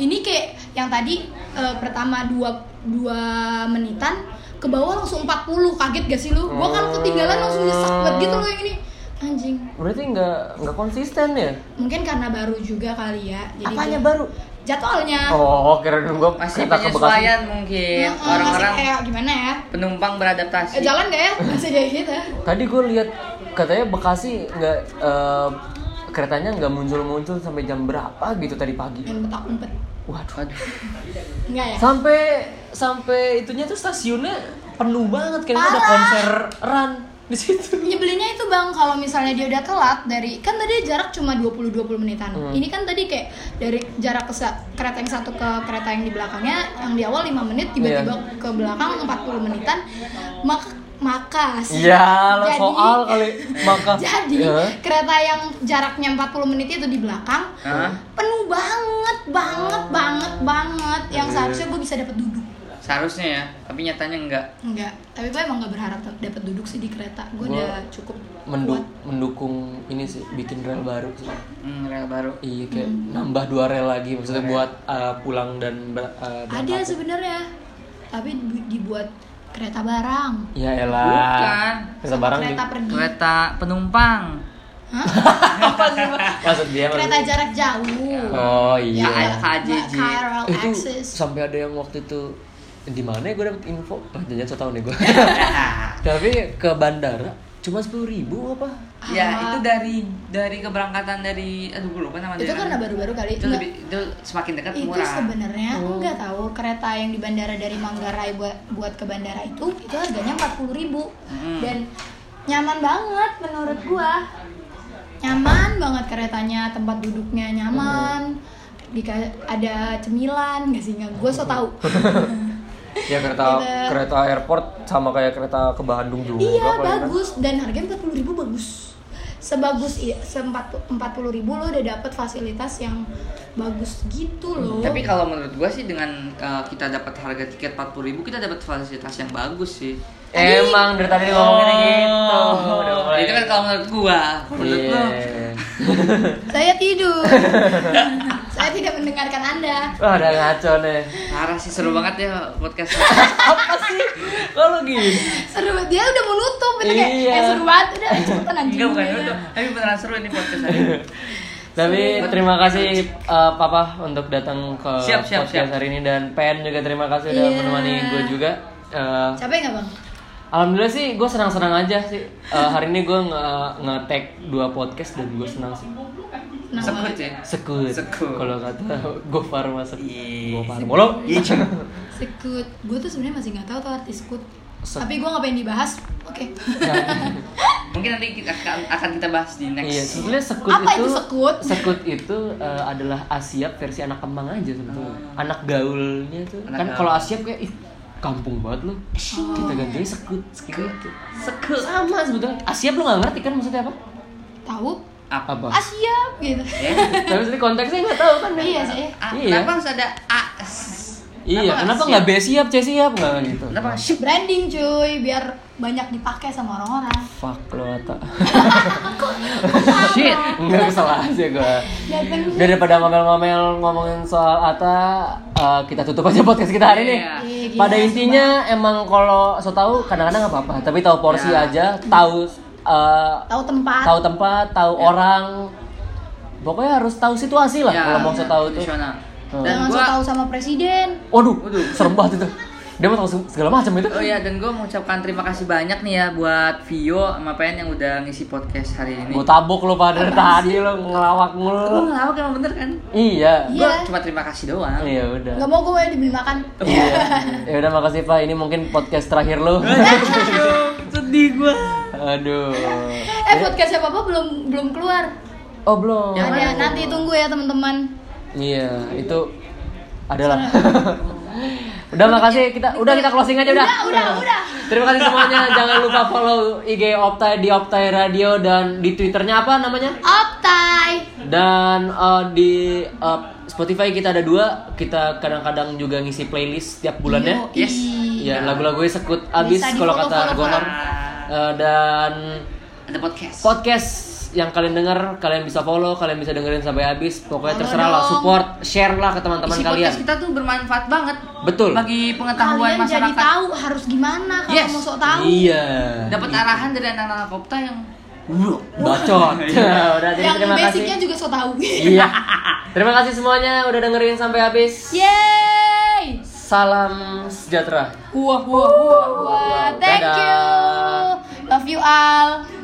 [SPEAKER 2] Ini kayak yang tadi eh, pertama 2 2 menitan ke bawah langsung 40. Kaget gak sih lu? Gua kan ketinggalan langsung nyesek banget gitu loh yang ini. Anjing.
[SPEAKER 1] berarti nggak nggak konsisten ya
[SPEAKER 2] Mungkin karena baru juga kali ya. Jadi
[SPEAKER 1] apanya
[SPEAKER 2] gua-
[SPEAKER 1] baru
[SPEAKER 2] Jadwalnya.
[SPEAKER 1] oh kira gua
[SPEAKER 3] Masih
[SPEAKER 1] kereta ke bekasi
[SPEAKER 3] penyesuaian mungkin
[SPEAKER 2] Heeh, masih
[SPEAKER 3] iya, orang-orang
[SPEAKER 2] kayak gimana ya?
[SPEAKER 3] penumpang
[SPEAKER 2] Eh,
[SPEAKER 3] beradaptasi.
[SPEAKER 2] jalan gak ya? Masih kayak gitu.
[SPEAKER 1] Tadi gue lihat katanya Bekasi nggak eh, keretanya nggak muncul-muncul sampai jam berapa gitu tadi pagi.
[SPEAKER 2] Main petak-umpet.
[SPEAKER 1] Waduh.
[SPEAKER 3] Waduh.
[SPEAKER 2] Enggak ya?
[SPEAKER 1] Sampai sampai itunya tuh stasiunnya penuh banget kayaknya ada
[SPEAKER 2] Parah.
[SPEAKER 1] konser run di situ.
[SPEAKER 2] Nyebelinnya itu bang kalau misalnya dia udah telat dari kan tadi jarak cuma 20-20 menitan.
[SPEAKER 1] Hmm.
[SPEAKER 2] Ini kan tadi kayak dari jarak ke sa- kereta yang satu ke kereta yang di belakangnya yang di awal 5 menit tiba-tiba
[SPEAKER 1] Iya.
[SPEAKER 2] ke belakang 40 menitan. Maka maka sih.
[SPEAKER 1] Ya, lo
[SPEAKER 2] Jadi-
[SPEAKER 1] soal kali maka.
[SPEAKER 2] Jadi
[SPEAKER 1] Ya.
[SPEAKER 2] kereta yang jaraknya 40 menit itu di belakang
[SPEAKER 3] Hah?
[SPEAKER 2] penuh banget banget
[SPEAKER 1] Ah.
[SPEAKER 2] banget banget
[SPEAKER 1] Iya.
[SPEAKER 2] yang seharusnya gue bisa dapat duduk.
[SPEAKER 3] Seharusnya ya, tapi nyatanya enggak.
[SPEAKER 2] Enggak, tapi gue emang gak berharap dapat duduk sih di kereta. Gue
[SPEAKER 1] Gua
[SPEAKER 2] udah cukup
[SPEAKER 1] Mendu-
[SPEAKER 2] kuat.
[SPEAKER 1] mendukung ini sih bikin rel baru sih.
[SPEAKER 3] Hmm, rel baru.
[SPEAKER 1] Iya kayak
[SPEAKER 2] Hmm.
[SPEAKER 1] nambah dua rel lagi maksudnya buat eh, pulang dan ber- eh,
[SPEAKER 2] Ada
[SPEAKER 1] berangkat.
[SPEAKER 2] sebenarnya, tapi bu- dibuat kereta barang.
[SPEAKER 1] Ya elah.
[SPEAKER 3] Bukan.
[SPEAKER 1] Kereta barang
[SPEAKER 2] kereta
[SPEAKER 1] juga.
[SPEAKER 2] pergi.
[SPEAKER 3] Kereta penumpang.
[SPEAKER 2] Hah?
[SPEAKER 1] Maksud dia
[SPEAKER 2] kereta
[SPEAKER 1] maksudnya.
[SPEAKER 2] jarak jauh.
[SPEAKER 1] Oh iya.
[SPEAKER 2] Ya,
[SPEAKER 3] Iya. KJJ.
[SPEAKER 2] Chiral
[SPEAKER 1] itu
[SPEAKER 2] Access.
[SPEAKER 1] sampai ada yang waktu itu di mana gue dapet info ah jangan setahun nih gue
[SPEAKER 3] Nah,
[SPEAKER 1] tapi ke bandara cuma sepuluh ribu apa
[SPEAKER 3] ya,
[SPEAKER 2] Ah.
[SPEAKER 3] itu dari dari keberangkatan dari aduh gue lupa nama
[SPEAKER 2] Itu kan
[SPEAKER 3] daerahnya.
[SPEAKER 2] karena baru-baru kali.
[SPEAKER 3] kan? itu
[SPEAKER 2] Enggak,
[SPEAKER 3] lebih itu semakin dekat
[SPEAKER 2] itu
[SPEAKER 3] murah.
[SPEAKER 2] sebenarnya enggak tahu kereta yang di bandara dari Manggarai buat buat ke bandara itu itu harganya 40.000 dan nyaman banget menurut gua nyaman banget keretanya tempat duduknya nyaman Dika- ada cemilan nggak sih nggak gue so tau
[SPEAKER 1] ya kereta
[SPEAKER 2] Gitu.
[SPEAKER 1] kereta airport sama kayak kereta ke Bandung juga
[SPEAKER 2] iya
[SPEAKER 3] ya,
[SPEAKER 1] paling kan.
[SPEAKER 2] bagus dan harganya 40.000 ribu bagus sebagus i- se- empat- 40 ribu lo udah dapet fasilitas yang bagus gitu loh
[SPEAKER 3] Tapi kalau menurut gua sih dengan uh, kita dapat harga tiket 40.000 kita dapat fasilitas yang bagus sih.
[SPEAKER 1] Emang dari tadi ngomongnya gitu. Udah mulai.
[SPEAKER 3] Itu kan kalau menurut gua. Menurut lu?
[SPEAKER 1] Iya.
[SPEAKER 2] saya tidur saya tidak mendengarkan anda
[SPEAKER 1] Wah, udah ngaco nih.
[SPEAKER 3] Parah sih
[SPEAKER 2] Hmm.
[SPEAKER 3] seru banget ya podcast.
[SPEAKER 1] Apa sih? Kalau gini.
[SPEAKER 2] seru banget dia udah mau nutup gitu kayak
[SPEAKER 1] Iya.
[SPEAKER 2] eh, seru banget udah cepetan anjing
[SPEAKER 3] Enggak bukan
[SPEAKER 2] udah.
[SPEAKER 3] itu. Tapi beneran seru ini podcast hari ini.
[SPEAKER 1] Tapi terima kasih eh, Papa untuk datang ke
[SPEAKER 3] Siap, siap,
[SPEAKER 1] podcast
[SPEAKER 3] siap.
[SPEAKER 1] hari ini dan Pen juga terima kasih udah
[SPEAKER 2] Iya.
[SPEAKER 1] menemani gue juga. Eh,
[SPEAKER 2] capek nggak bang
[SPEAKER 1] Alhamdulillah sih gue senang-senang aja sih. Eh, hari ini gue nge, nge-tag dua podcast dan gue senang sih.
[SPEAKER 2] Senang
[SPEAKER 3] Sekut
[SPEAKER 2] banget.
[SPEAKER 3] ya.
[SPEAKER 1] Sekut.
[SPEAKER 3] Sekut.
[SPEAKER 1] Kalau kata gue Farma sekut.
[SPEAKER 3] Iya.
[SPEAKER 1] Gue Farma. Lo?
[SPEAKER 2] sekut gue tuh sebenarnya masih nggak tahu tuh artis sekut
[SPEAKER 1] Sekut.
[SPEAKER 2] tapi gue nggak pengen dibahas oke
[SPEAKER 3] Mungkin nanti kita akan, akan kita bahas di next.
[SPEAKER 1] Iya, sebetulnya sekut
[SPEAKER 2] Apa itu
[SPEAKER 1] itu
[SPEAKER 2] sekut?
[SPEAKER 1] sekut itu eh, adalah asiap versi anak kembang aja sebetulnya. Anak gaulnya tuh.
[SPEAKER 3] Ah. Anak
[SPEAKER 1] kan
[SPEAKER 3] gaul.
[SPEAKER 1] kalau asiap kayak ih, kampung banget lu.
[SPEAKER 2] Oh.
[SPEAKER 1] Kita ganti sekut gitu.
[SPEAKER 3] Sekut.
[SPEAKER 1] Sama sebetulnya. Asiap lu nggak ngerti kan maksudnya apa?
[SPEAKER 2] tahu
[SPEAKER 3] Apa?
[SPEAKER 1] Apa?
[SPEAKER 2] ah siap gitu
[SPEAKER 3] Ya.
[SPEAKER 1] Tapi sebetulnya konteksnya nggak tahu kan.
[SPEAKER 2] iya sih
[SPEAKER 3] A-
[SPEAKER 1] Iya.
[SPEAKER 3] Kenapa harus ada A? S?
[SPEAKER 1] Iya, kenapa nggak B siap, C siap nggak gitu?
[SPEAKER 3] Kenapa ship?
[SPEAKER 2] branding cuy biar banyak dipakai sama orang-orang
[SPEAKER 1] Fuck lo Ata.
[SPEAKER 3] Shit.
[SPEAKER 1] Enggak salah aja gua.
[SPEAKER 2] dateng
[SPEAKER 1] Daripada ngomel-ngomel ngomongin soal Ata, eh, kita tutup aja podcast kita hari ini.
[SPEAKER 3] Iya.
[SPEAKER 2] Iya, gila,
[SPEAKER 1] Pada
[SPEAKER 2] sih,
[SPEAKER 1] intinya emang kalau so tahu kadang-kadang nggak apa-apa, tapi tahu porsi
[SPEAKER 3] Ya.
[SPEAKER 1] aja, tahu eh,
[SPEAKER 2] Bang. tahu tempat
[SPEAKER 1] tahu tempat, tahu orang. Pokoknya harus tahu situasi lah
[SPEAKER 3] Ya,
[SPEAKER 1] kalau mau so tahu tuh.
[SPEAKER 3] kondisional.
[SPEAKER 1] Hmm.
[SPEAKER 2] jangan
[SPEAKER 3] Dan
[SPEAKER 2] so
[SPEAKER 3] gua
[SPEAKER 2] tahu sama presiden
[SPEAKER 1] Waduh, serem banget itu. Dia mau tahu segala macam itu.
[SPEAKER 3] Oh ya, dan gue mengucapkan terima kasih banyak nih ya buat Vio sama Pen yang udah ngisi podcast hari ini.
[SPEAKER 1] Gue tabok lo pada dari tadi lo ngelawak
[SPEAKER 3] Gue
[SPEAKER 1] mulu.
[SPEAKER 3] ngelawak emang bener kan?
[SPEAKER 1] Iya.
[SPEAKER 2] Iya.
[SPEAKER 3] Gue cuma terima kasih doang.
[SPEAKER 1] Iya udah.
[SPEAKER 2] nggak mau gue dibeli makan
[SPEAKER 1] Iya. Ya udah makasih Pak. Ini mungkin podcast terakhir lo. Iya.
[SPEAKER 3] Aduh, Sedih gue.
[SPEAKER 1] Aduh.
[SPEAKER 2] eh podcastnya papa belum belum keluar
[SPEAKER 1] Oh belum.
[SPEAKER 3] Yang
[SPEAKER 2] ada
[SPEAKER 3] mana?
[SPEAKER 2] nanti tunggu ya teman-teman
[SPEAKER 1] Iya itu adalah. udah makasih kita udah kita closing aja udah.
[SPEAKER 2] udah Ah, udah udah
[SPEAKER 1] Terima kasih semuanya. Jangan lupa follow IG Optai di Optai Radio dan di Twitternya apa namanya?
[SPEAKER 2] optai
[SPEAKER 1] Dan eh, di eh, Spotify kita ada dua. Kita kadang-kadang juga ngisi playlist tiap bulannya.
[SPEAKER 2] Yoi.
[SPEAKER 3] Yes.
[SPEAKER 1] Ya, lagu-lagu gue sekut abis
[SPEAKER 2] Iya. Bisa
[SPEAKER 1] kalau kata
[SPEAKER 2] di-follow-follow,
[SPEAKER 1] Gonor.
[SPEAKER 3] Pak.
[SPEAKER 1] Eh, dan
[SPEAKER 3] Ada podcast.
[SPEAKER 1] podcast yang kalian denger, kalian bisa follow, kalian bisa dengerin sampai habis. Pokoknya
[SPEAKER 2] Follow
[SPEAKER 1] terserah lah,
[SPEAKER 2] dong.
[SPEAKER 1] support, share lah ke teman-teman
[SPEAKER 3] Isi
[SPEAKER 1] kalian.
[SPEAKER 3] podcast kita tuh bermanfaat banget.
[SPEAKER 1] Betul.
[SPEAKER 3] Bagi pengetahuan
[SPEAKER 2] kalian jadi
[SPEAKER 3] masyarakat.
[SPEAKER 2] tahu harus gimana kalau
[SPEAKER 3] Yes.
[SPEAKER 2] mau sok tahu
[SPEAKER 1] Iya.
[SPEAKER 3] Dapat arahan dari anak-anak kopta yang
[SPEAKER 1] Bacot. Udah jadi
[SPEAKER 2] yang
[SPEAKER 1] terima kasih.
[SPEAKER 2] basicnya juga sok tahu
[SPEAKER 1] Iya. Terima kasih semuanya udah dengerin sampai habis.
[SPEAKER 2] yeay
[SPEAKER 1] Salam sejahtera.
[SPEAKER 2] wah wah wah wah thank you
[SPEAKER 1] Dadah.
[SPEAKER 2] love you all